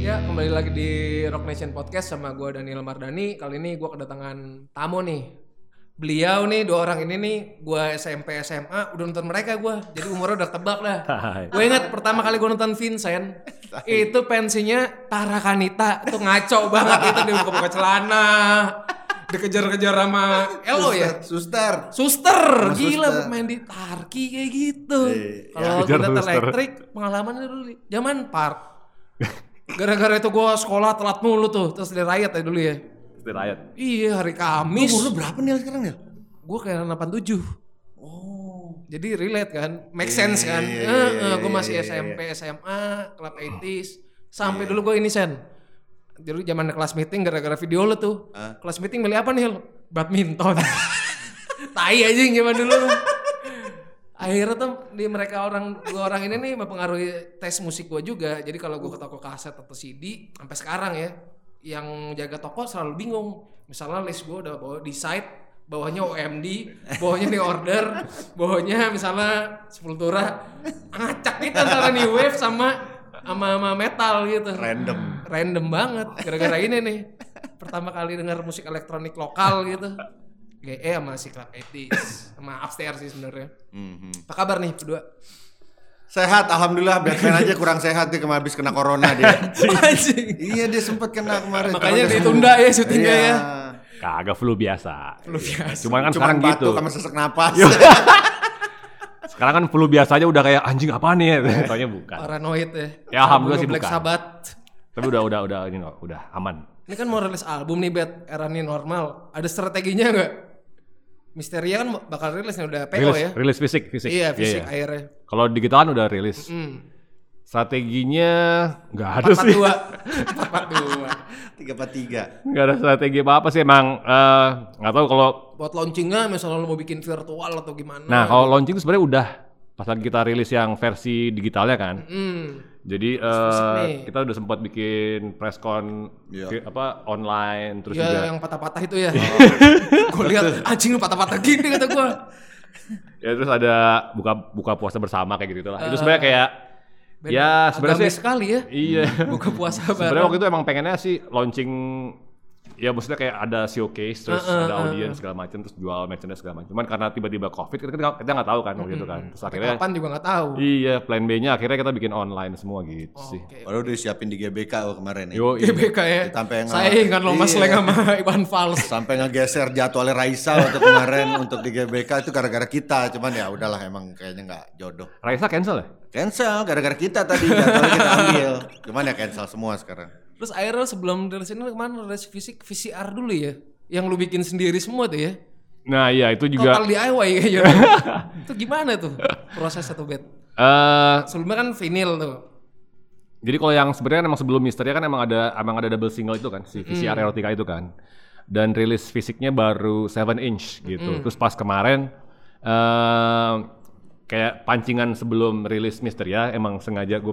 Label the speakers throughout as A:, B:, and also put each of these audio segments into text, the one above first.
A: Ya, kembali lagi di Rock Nation Podcast sama gue Daniel Mardani. Kali ini gue kedatangan tamu nih. Beliau nih dua orang ini nih gue SMP SMA udah nonton mereka gue. Jadi umurnya udah tebak dah.
B: Hai.
A: Gue inget pertama kali gue nonton Vincent itu pensinya Tarakanita tuh ngaco banget itu dia buka-buka celana dikejar-kejar sama Elo ya
C: Suster.
A: Suster,
C: Sama
A: gila
C: suster.
A: main di Tarki kayak gitu.
C: Iya.
A: Kalau
B: Kejar
A: kita
B: suster.
A: elektrik pengalaman dulu di zaman park. Gara-gara itu gua sekolah telat mulu tuh, terus di riot ya dulu ya.
B: Istri rakyat.
A: Iya, hari
C: Lu
A: Kamis.
C: Umur lu berapa nih sekarang Nil?
A: Gua kayak 87.
C: Oh.
A: Jadi relate kan, make
C: Iya,
A: sense
C: iya,
A: kan.
C: iya,
A: Heeh,
C: iya, iya,
A: gua
C: iya,
A: masih
C: iya,
A: SMP, SMA, klub 80s. Sampai dulu gua ini sen. Jadi zaman kelas meeting gara-gara video lu tuh.
C: Hah?
A: Kelas meeting milih apa nih? Hil? Badminton. tai aja zaman dulu. lu. Akhirnya tuh di mereka orang dua orang ini nih mempengaruhi tes musik gua juga. Jadi kalau gua ke toko kaset atau CD sampai sekarang ya, yang jaga toko selalu bingung. Misalnya list gua udah bawa di site bawahnya OMD, bawahnya di order, bawahnya misalnya sepultura ngacak gitu antara new wave sama sama, sama metal gitu
C: Random.
A: random banget gara-gara ini nih pertama kali dengar musik elektronik lokal gitu GE sama si Club 80s sama upstairs sih sebenarnya
B: Mhm.
A: apa kabar nih berdua
C: Sehat, alhamdulillah. Batman aja kurang sehat dia kemarin habis kena corona dia.
A: anjing
C: iya dia sempat kena kemarin.
A: Makanya
C: Corona
A: ditunda
C: sembuh.
A: ya syutingnya
C: Iya.
A: ya.
B: Kagak flu biasa.
A: Flu biasa.
B: Cuman kan
C: Cuman
B: sekarang
C: batuk
B: gitu.
C: sama sesak napas.
B: Sekarang kan flu biasa aja udah kayak anjing apa nih? Taunya bukan.
A: paranoid ya
B: Ya, alhamdulillah sih
A: Black
B: bukan.
A: Sabbath
B: Tapi udah udah udah ini no, udah aman.
A: ini kan mau rilis album nih Bet era ini normal ada strateginya nggak Misteria kan bakal rilis nih udah PO
B: Rilis,
A: ya
B: rilis fisik, fisik.
A: iya fisik
B: iya.
A: akhirnya
B: Kalau digital kan udah rilis.
A: hmm.
B: Strateginya nggak ada sih.
A: 442 442
C: Tiga empat tiga.
B: Nggak ada strategi apa-apa sih emang eh, nggak tahu kalau
A: buat launchingnya misalnya lo mau bikin virtual atau gimana
B: nah kalau launching itu sebenarnya udah pas lagi kita rilis yang versi digitalnya kan.
A: Hmm.
B: Jadi
A: fisik
B: eh,
A: nih.
B: kita udah sempat bikin presscon
C: Iya.
B: apa online terus
A: ya
B: juga Oh.
A: yang patah-patah itu ya. gue lihat anjing lu patah-patah gini kata gue.
B: ya terus ada buka buka puasa bersama kayak gitu lah. itu sebenarnya kayak ya sebenarnya sih-
A: sekali ya.
B: iya.
A: Buka puasa bareng.
B: sebenarnya waktu itu emang pengennya sih launching ya maksudnya kayak ada showcase terus
A: Heeh,
B: ada
A: heeh,
B: audience segala macam terus jual merchandise segala macam. Cuman karena tiba-tiba covid kita kita kita nggak tahu kan waktu itu kan. Terus akhirnya
A: Kapan juga nggak tahu.
B: iya plan B-nya akhirnya kita bikin online semua gitu sih.
A: Oke.
C: Baru udah siapin di GBK oh, kemarin ya.
B: Yo,
A: GBK ya.
C: Kita sampai nge-
A: Saya ingat lo mas
C: Iya.
A: Leng sama Iwan Fals.
C: Sampai ngegeser jadwalnya Raisa waktu kemarin untuk di GBK itu gara-gara kita. Cuman ya udahlah emang kayaknya nggak jodoh.
B: Raisa cancel ya?
C: Cancel gara-gara kita tadi jadwalnya kita ambil. Cuman ya cancel semua sekarang.
A: Terus akhirnya sebelum dari sini lu kemana dari fisik VCR dulu ya. Yang lu bikin sendiri semua tuh ya.
B: Nah iya itu juga
A: Total DIY kayaknya. itu gimana tuh proses satu bed?
B: eh
A: Sebelumnya kan vinil tuh.
B: Jadi kalau yang sebenarnya emang sebelum Misteria kan emang ada emang ada double single itu kan si VCR
A: Hmm.
B: Erotica itu kan. Dan rilis fisiknya baru 7 inch
A: Hmm.
B: gitu. Terus pas kemarin eh kayak pancingan sebelum rilis Misteria emang sengaja gue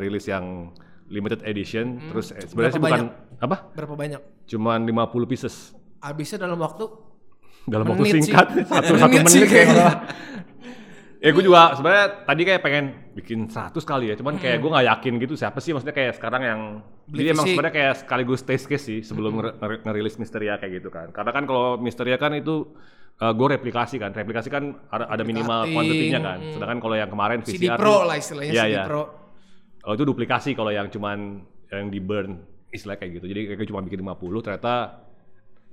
B: rilis yang limited edition terus eh, sebenarnya sih
A: Hmm. Berapa
B: bukan apa?
A: Berapa banyak?
B: Cuman 50 pieces
A: Habisnya dalam waktu
B: dalam
A: Menit
B: waktu singkat
A: sih.
B: satu
A: Menit
B: satu menit,
A: sih
B: kayak gitu.
A: kayaknya.
B: orang. ya
A: Iya.
B: gue juga sebenarnya tadi kayak pengen bikin 100 kali ya cuman kayak gue nggak yakin gitu siapa sih maksudnya kayak sekarang yang
A: Beli
B: jadi emang
A: fisik.
B: sebenarnya kayak sekaligus test case sih sebelum nger- nger- ngerilis misteria kayak gitu kan karena kan kalau misteria kan itu gue replikasi kan replikasi kan ada, ada minimal
A: Replikating,
B: kuantitinya kan sedangkan kalau yang kemarin
A: CD
B: VCR
A: Pro
B: tuh-
A: lah istilahnya
B: Iya,
A: CD
B: iya.
A: Pro.
B: Oh, itu duplikasi kalau yang cuman yang di burn istilah kayak gitu. Jadi kayak cuma bikin 50 ternyata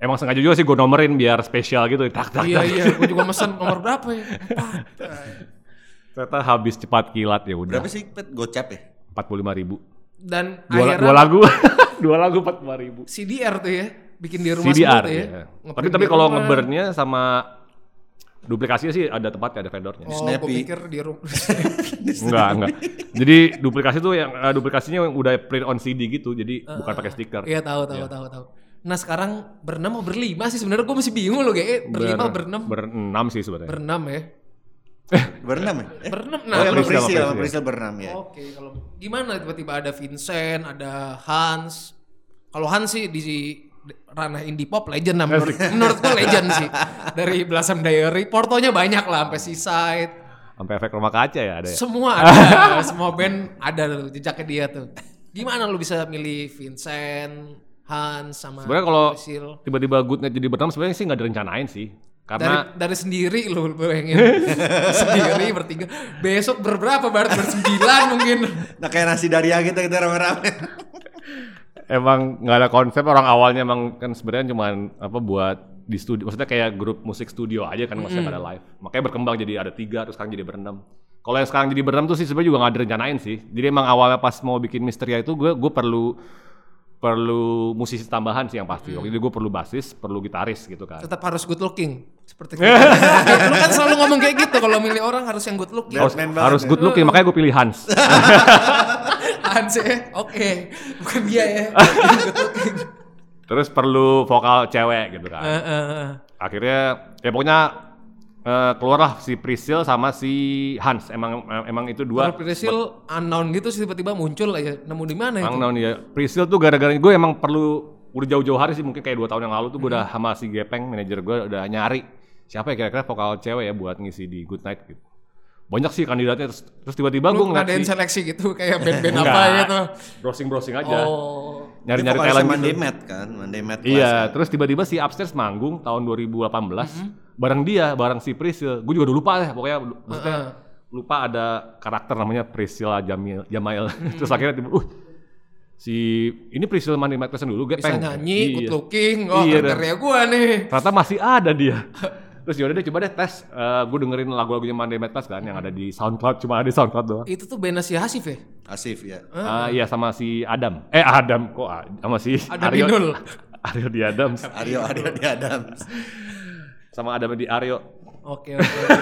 B: emang sengaja juga sih gue nomerin biar spesial gitu. Tak tak.
A: Iya
B: tak.
A: iya, gue juga mesen nomor berapa ya? Empat.
B: Ternyata habis cepat kilat ya udah.
C: Berapa sih Pet? Gocap ya?
B: 45 ribu.
A: Dan
B: Dua,
A: akhirnya
B: dua lagu. dua lagu 45 ribu.
A: CDR tuh ya, bikin di rumah
B: CDR
A: semua tuh
B: ya.
A: Ngeprint gitu kan.
B: Tapi tapi
A: di
B: kalau
A: rumah.
B: ngeburnnya sama duplikasinya sih ada tempatnya, ada vendornya.
A: Oh, gue
C: Snappy.
A: pikir di rumah.
B: Enggak, enggak. Jadi duplikasi tuh yang eh, duplikasinya yang udah print on CD gitu. Jadi bukan pakai stiker.
A: Iya tahu tahu tahu tahu. Nah sekarang berenam mau berlima sih sebenarnya gue masih bingung loh kayak berlima
B: Ber-
A: berenam
B: Berenam sih sebenarnya.
A: berenam ya
C: Berenam ya? Eh?
A: berenam
C: Oh,
A: nah
C: yang
B: Priscil,
C: Priscil,
B: sama
C: sama
B: Priscil.
C: Priscil berenam ya.
A: oke kalau gimana tiba-tiba ada Vincent ada Hans kalau Hans sih di ranah indie pop legend lah menurut, menurut gue legend sih dari Blossom Diary portonya banyak lah sampai Seaside
B: Sampai efek rumah kaca ya ada ya.
A: Semua ada, semua band ada tuh jejaknya dia tuh. Gimana lu bisa milih Vincent, Hans sama
B: Sebenarnya kalau-
A: Priscil?
B: Tiba-tiba good night jadi bernama sebenarnya sih nggak direncanain sih. Karena
A: dari dari sendiri lu bayangin. sendiri bertiga. Besok berberapa Bart? Bersembilan mungkin.
C: Nah kayak nasi daria kita kita rame-rame.
B: emang nggak ada konsep orang awalnya emang kan sebenarnya cuman apa buat di studio maksudnya kayak grup musik studio aja kan maksudnya nggak ada live makanya berkembang jadi ada tiga terus sekarang jadi berenam kalau yang sekarang jadi berenam tuh sih sebenarnya juga nggak direncanain sih jadi emang awalnya pas mau bikin Misteria itu gue gue perlu perlu musisi tambahan sih yang
C: Mm.
B: pasti waktu itu gue perlu basis perlu gitaris gitu kan
A: Tetap harus good looking. Seperti kita. lu kan selalu ngomong kayak gitu kalau milih orang harus yang good looking.
B: harus,
C: Batman banget
B: harus
C: ya.
B: good looking makanya gue pilih Hans
A: Hans ya? Oke. Bukan dia ya. good looking.
B: terus perlu vokal cewek gitu kan
A: Eh, eh, eh.
B: akhirnya ya pokoknya eh, keluarlah si Priscil sama si Hans emang emang itu dua
A: Kalau Priscil unknown gitu sih tiba-tiba muncul aja. Nemu di mana itu?
B: emang tahun ya Priscil tuh gara-gara gue emang perlu udah jauh-jauh hari sih mungkin kayak dua tahun yang lalu tuh gue
A: Hmm.
B: udah sama si Gepeng manajer gue udah nyari siapa ya kira-kira vokal cewek ya buat ngisi di Good Night gitu banyak sih kandidatnya terus, terus tiba-tiba
A: Lu
B: gue ngeliat
A: ngadain
B: si
A: seleksi gitu kayak band-band apa gitu.
B: browsing-browsing aja
A: Oh.
B: nyari-nyari
C: Dia vokalisnya
B: talent gitu.
C: Monday Matt kan, Monday Matt Class
B: Iya,
C: kan.
B: terus tiba-tiba si Upstairs manggung tahun 2018
A: Hmm.
B: bareng dia, bareng si Priscil. Gue juga udah lupa ya, pokoknya lu- maksudnya lupa ada karakter namanya Priscil Jamil, Jamail.
A: Hmm.
B: terus akhirnya tiba, uh, si ini Priscil Mani Macpherson dulu, gue
A: Bisa nyanyi, good looking. Oh,
B: Iya,
A: kriteria gua nih.
B: Ternyata masih ada dia. Terus yaudah deh coba deh tes. gue dengerin lagu-lagunya Monday Madness kan yang ada di SoundCloud, cuma ada di SoundCloud doang.
A: Itu tuh bandnya si Hasif ya?
C: Asif ya.
B: Ah, iya sama si Adam. Eh Adam kok A- sama si
A: Adam
B: Aryo.
A: Inul.
B: Aryo di Adams.
C: Aryo Aryo di Adam.
B: Sama Adam di Aryo.
A: Oke, oke. oke.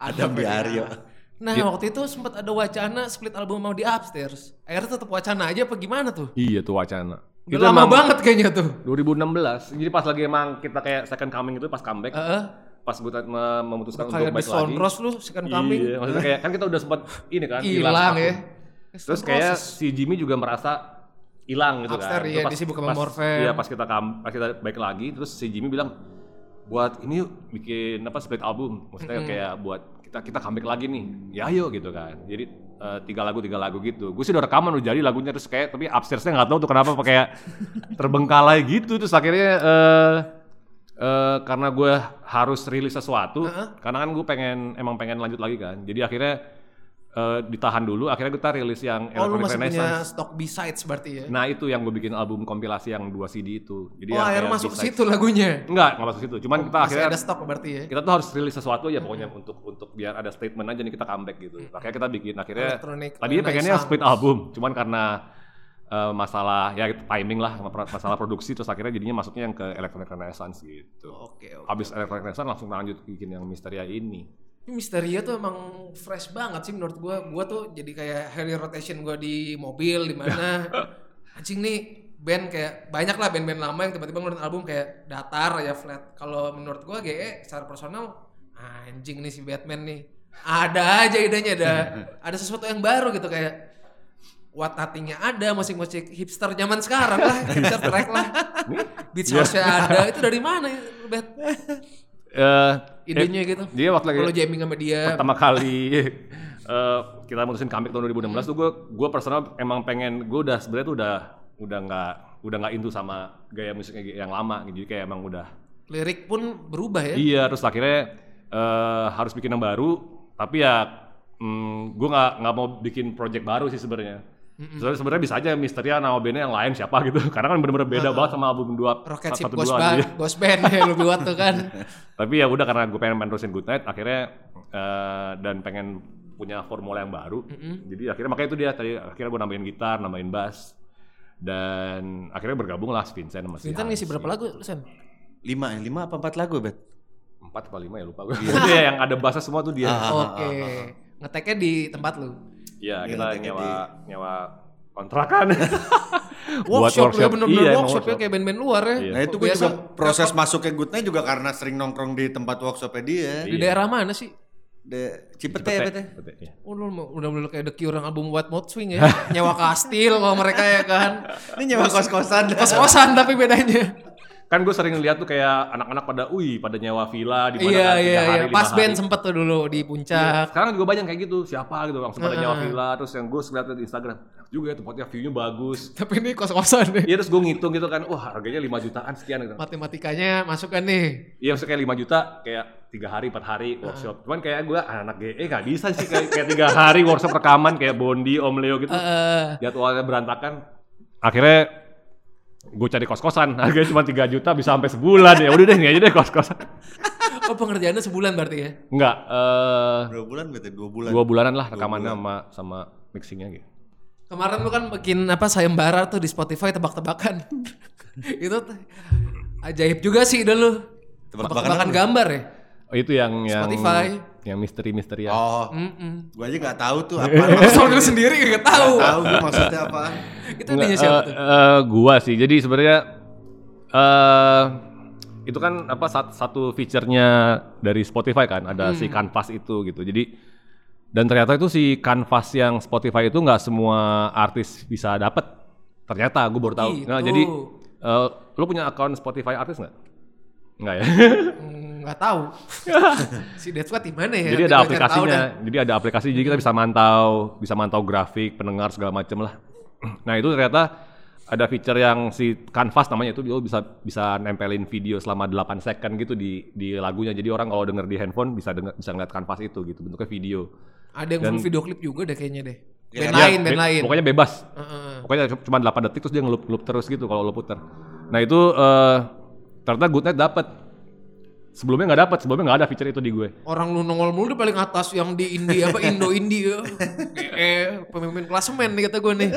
C: Adam di Aryo.
A: Nah,
B: Iya.
A: waktu itu sempat ada wacana split album mau di upstairs. Akhirnya tetap wacana aja apa gimana tuh?
B: Iya tuh wacana.
A: Udah lama
B: emang
A: banget kayaknya tuh.
B: 2016. Jadi pas lagi emang kita kayak second coming itu pas comeback,
A: Heeh.
B: pas gue me- memutuskan untuk
A: kayak di
B: baik lagi.
A: Soundros lu second coming
B: Iya, maksudnya kayak kan kita udah sempat ini kan
A: hilang
B: akun.
A: ya.
B: Terus kayak si Jimmy juga merasa hilang gitu
A: Upstairs,
B: kan.
A: iya,
B: Terus
A: disibuk sama Morfem.
B: Iya, pas kita kam- pas kita baik lagi terus si Jimmy bilang buat ini yuk bikin apa split album. Maksudnya kayak buat kita kita comeback lagi nih. Ya ayo gitu kan. Jadi eh, tiga lagu tiga lagu gitu. Gue sih udah rekaman udah jadi lagunya terus kayak tapi upstairsnya nggak tahu tuh kenapa pakai terbengkalai gitu terus akhirnya eh eh, karena gue harus rilis sesuatu karena kan gue pengen emang pengen lanjut lagi kan jadi akhirnya eh, ditahan dulu akhirnya kita rilis yang
A: Oh, lu
B: Electronic
A: masih punya
B: Renaissance.
A: stok B-sides berarti ya.
B: nah itu yang gue bikin album kompilasi yang 2 CD itu jadi
A: oh, akhirnya
B: yang Iya, kayak
A: masuk ke
B: B-side.
A: situ lagunya.
B: enggak nggak masuk situ cuman kita
A: Masih
B: akhirnya
A: ada stok berarti ya.
B: kita tuh harus rilis sesuatu ya pokoknya untuk untuk biar ada statement aja nih kita comeback gitu makanya kita bikin akhirnya
A: Electronic
B: tadinya pengennya
A: Hmm. Renaissance.
B: split album cuman karena eh, masalah ya timing lah masalah produksi terus akhirnya jadinya masuknya yang ke Electronic Renaissance gitu
A: Oke, oke.
B: Habis Electronic Renaissance langsung lanjut bikin yang Misteria ini.
A: Ini Misteria tuh emang fresh banget sih menurut gua. Gua tuh jadi kayak heavy rotation gua di mobil di mana. Anjing nih band kayak banyak lah band-band lama yang tiba-tiba ngeluarin album kayak datar aja flat. Kalau menurut gua GE secara personal anjing nih si Batman nih. Ada aja idenya ada ada sesuatu yang baru gitu kayak What nothing-nya ada, musik-musik hipster zaman sekarang lah, hipster track lah. Beats house-nya ada, itu dari mana ya, Bat?
B: Eh,
A: Idenya gitu.
B: dia waktu lagi
A: Kalau jamming sama dia,
B: pertama kali eh, kita mutusin comeback tahun 2016 tuh gue gue personal emang pengen gue udah sebenarnya tuh udah udah nggak udah nggak into sama gaya musiknya yang lama gitu. Jadi kayak emang udah
A: lirik pun berubah ya.
B: Iya, terus akhirnya eh, harus bikin yang baru. Tapi ya, mm, gue nggak nggak mau bikin project baru sih sebenarnya. Soalnya Sebenarnya bisa aja Misteria nama bandnya yang lain siapa gitu. Karena kan bener-bener beda banget sama album dua
A: Rocket Ship
B: satu
A: Ghost
B: dua
A: Band,
B: gitu.
A: Ghost Band ya lu buat tuh kan.
B: Tapi ya udah karena gue pengen menerusin Good Night, akhirnya eh, dan pengen punya formula yang baru. Jadi akhirnya makanya itu dia tadi akhirnya gue nambahin gitar, nambahin bass dan akhirnya bergabung lah Vincent sama si
A: Vincent
B: Hans.
A: ngisi berapa lagu lu Sen?
C: Lima ya, lima apa empat lagu bet?
B: Empat apa lima ya lupa gue. Dia yang ada bassnya semua tuh
C: Ah,
B: dia.
A: Oke. Ngeteknya di tempat lu.
B: Iya,
C: Iya,
B: kita
C: nanti
B: nyewa
C: jadi-
B: nyewa kontrakan.
A: Workshop, ya bener-bener
B: Iya, emang
A: workshop, ya kayak band-band luar ya.
B: Iya.
C: Nah itu gue
A: Biasa
C: juga proses masuknya goodnya juga karena sering nongkrong di tempat workshopnya dia.
B: Iya.
A: Di daerah mana sih?
C: De, Cipete, ya bet ya?
B: Betul, iya.
A: Oh, lu mau- udah mulai kayak The Cure yang album White Mouth Swing ya. Nyewa kastil kalau mereka ya kan.
C: Ini nyewa kos-kosan.
A: Kos-kosan tapi bedanya.
B: kan gue sering lihat tuh kayak anak-anak pada wih pada nyewa villa
A: Iya
B: di mana kan, tiga
A: iya iya.
B: hari, lima
A: Pas
B: hari. Iya.
A: band sempet tuh dulu di puncak.
B: sekarang juga banyak kayak gitu siapa gitu langsung pada nyewa villa terus yang gue lihat di Instagram enak juga ya tempatnya view-nya bagus
A: Tapi ini kos-kosan deh.
B: Iya terus gue ngitung gitu kan, wah harganya 5 jutaan sekian gitu.
A: Matematikanya masukkan nih.
B: Iya maksudnya kayak 5 juta kayak tiga hari, empat hari workshop. Cuman kayak gue anak GE nggak bisa sih kayak, kayak tiga hari workshop rekaman kayak Bondi, Om Leo gitu.
A: Eh,
B: Jadwalnya berantakan. Akhirnya gue cari kos-kosan, harganya cuma 3 juta bisa sampai sebulan ya. Udah deh ini aja deh kos-kosan.
A: oh pengerjaannya sebulan berarti ya?
B: Enggak, eh
C: Berapa bulan berarti? Dua bulan.
B: dua bulanan lah rekamannya sama sama mixingnya gitu.
A: Kemarin lu kan bikin apa sayembara tuh di Spotify tebak-tebakan. itu t- ajaib juga sih ide lu.
C: Tebak-tebakan
A: Tebak-tebakan
C: apa?
A: gambar ya?
B: Oh, itu yang yang
A: Spotify.
B: yang misteri-misteri ya.
C: Oh,
A: Mm-mm.
C: gue aja nggak tahu tuh
B: Iya.
C: apa.
A: Soal Eh, lu sendiri gak tahu.
C: tahu gue maksudnya apaan.
A: itu
B: Nggak,
A: idenya siapa
B: eh,
A: tuh?
B: eh, gua sih. Jadi sebenarnya eh itu kan apa sat- satu fiturnya dari Spotify kan ada si
A: Hmm.
B: kanvas itu gitu. Jadi dan ternyata itu si kanvas yang Spotify itu nggak semua artis bisa dapat. Ternyata gue baru tahu.
A: Gitu.
B: Nah, jadi eh, lu punya akun Spotify artis nggak? Nggak ya.
A: Mm, Nggak tahu. si Dead Squad di mana ya? Nanti gua
B: jadi ada
A: cari tahu
B: aplikasinya.
A: dah.
B: Jadi ada aplikasi jadi kita bisa mantau, bisa mantau grafik, pendengar segala macam lah. Nah, itu ternyata ada feature yang si canvas namanya itu dia bisa bisa nempelin video selama 8 second gitu di di lagunya. Jadi orang kalau denger di handphone bisa denger, bisa ngeliat canvas itu gitu bentuknya video.
A: Ada yang full video klip juga deh kayaknya deh. Band
B: Iya,
A: lain, band
B: be-
A: lain. Hmm.
B: Pokoknya bebas.
A: Heeh.
B: Pokoknya cu- cuma 8 detik terus dia ngelup-ngelup terus gitu kalau lo puter. Nah, itu eh, ternyata Goodnight dapat. Sebelumnya nggak dapat, sebelumnya nggak ada feature itu di gue.
A: Orang lu nongol mulu di paling atas yang di India apa Indo India. eh, pemimpin klasemen nih kata gue nih.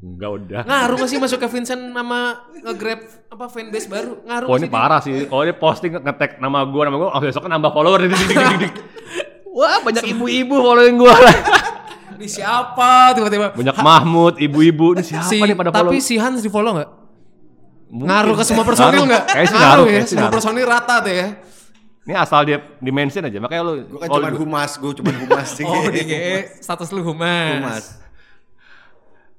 B: Nggak udah.
A: Ngaruh gak sih masuk ke Vincent nama nge-grab apa fanbase baru? Ngaruh
B: Oh
A: nggak
B: ini
A: sih?
B: parah sih. Oh ini posting ngetek nama gua nama gua, oh, besoknya nambah follower. Dik, dik, dik, dik, dik. Wah banyak ibu-ibu following gua.
A: Ini siapa tiba-tiba?
B: banyak Mahmud, ibu-ibu. Ini siapa
A: Si,
B: nih pada
A: tapi
B: follow?
A: si Hans di follow gak?
B: Mungkin. Eh,
A: Ngaruh ke semua personil
B: Ngaruh.
A: gak?
B: Kayaknya sih ngaruh.
A: ya,
B: kayaknya sih
A: semua
B: ngaruh.
A: personil rata tuh ya.
B: Ini asal dia di mention aja. Makanya Oh, lu. iya.
C: Gue kan
B: kalau
C: cuma
B: di-
C: humas, gue cuma humas sih.
A: Oh, DGE status lu humas.
C: Humas.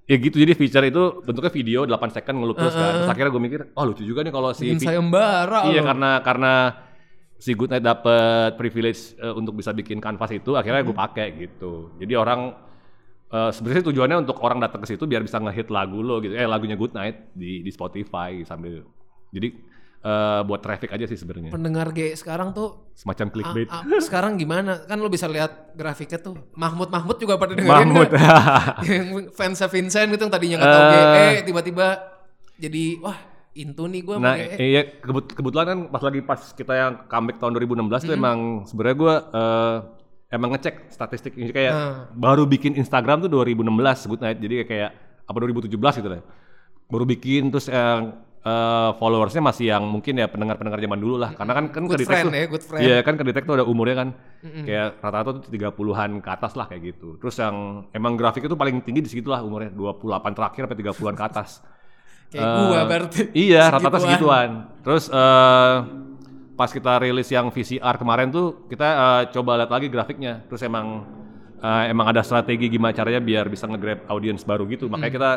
B: Ya gitu jadi feature itu bentuknya video 8 second ngelup terus kan. Terus akhirnya gua mikir, oh lucu juga nih kalau si
A: Bikin
B: vi-
A: sayembara.
B: Iya
A: lu.
B: karena karena si Good Night dapat privilege eh, untuk bisa bikin kanvas itu akhirnya
A: Hmm.
B: gue pakai gitu. Jadi orang eh, sebenarnya tujuannya untuk orang datang ke situ biar bisa ngehit lagu lo gitu. Eh lagunya Good Night di di Spotify sambil jadi eh, buat traffic aja sih sebenarnya.
A: pendengar G E sekarang tuh
B: Semacam
A: ah,
B: clickbait.
A: ah, sekarang gimana? Kan lu bisa lihat grafiknya tuh. Mahmud Mahmud juga pada dengerin.
B: Mahmud.
A: nggak? yang fansnya Vincent gitu yang tadinya nggak tahu
B: Eh.
A: GE tiba-tiba jadi wah into nih gue
B: nah, iya kebut- kebetulan kan pas lagi pas kita yang comeback tahun 2016 tuh emang sebenarnya gue emang ngecek statistik ini kayak
A: Nah.
B: baru bikin Instagram tuh 2016 Good Night jadi kayak apa 2017 gitu deh. Baru bikin terus yang eh, followersnya masih yang mungkin ya pendengar-pendengar zaman dulu lah karena kan kan
A: Good
B: kedetek
A: friend
B: tuh-
A: ya, good friend.
B: Iya kan kedetek tuh ada umurnya kan. Kayak rata-rata tuh 30-an ke atas lah kayak gitu. Terus yang emang grafiknya tuh paling tinggi di segitulah umurnya 28 terakhir sampai 30-an ke atas.
A: kayak gua
B: Eh,
A: berarti.
B: Iya, rata-rata segituan. Terus eh, pas kita rilis yang VCR kemarin tuh kita eh, coba lihat lagi grafiknya. Terus emang eh, emang ada strategi gimana caranya biar bisa nge-grab audience baru gitu.
A: Hmm.
B: Makanya kita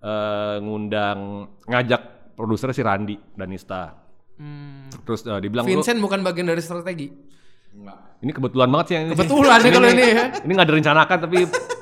B: eh, ngundang ngajak produser si Randi Danista.
A: Hmm.
B: Terus eh, dibilang "Lu,
A: Vincent bukan bagian dari strategi.
B: ini kebetulan banget sih yang ini.
A: Kebetulan ya kalau ini ya.
B: Ini nggak direncanakan tapi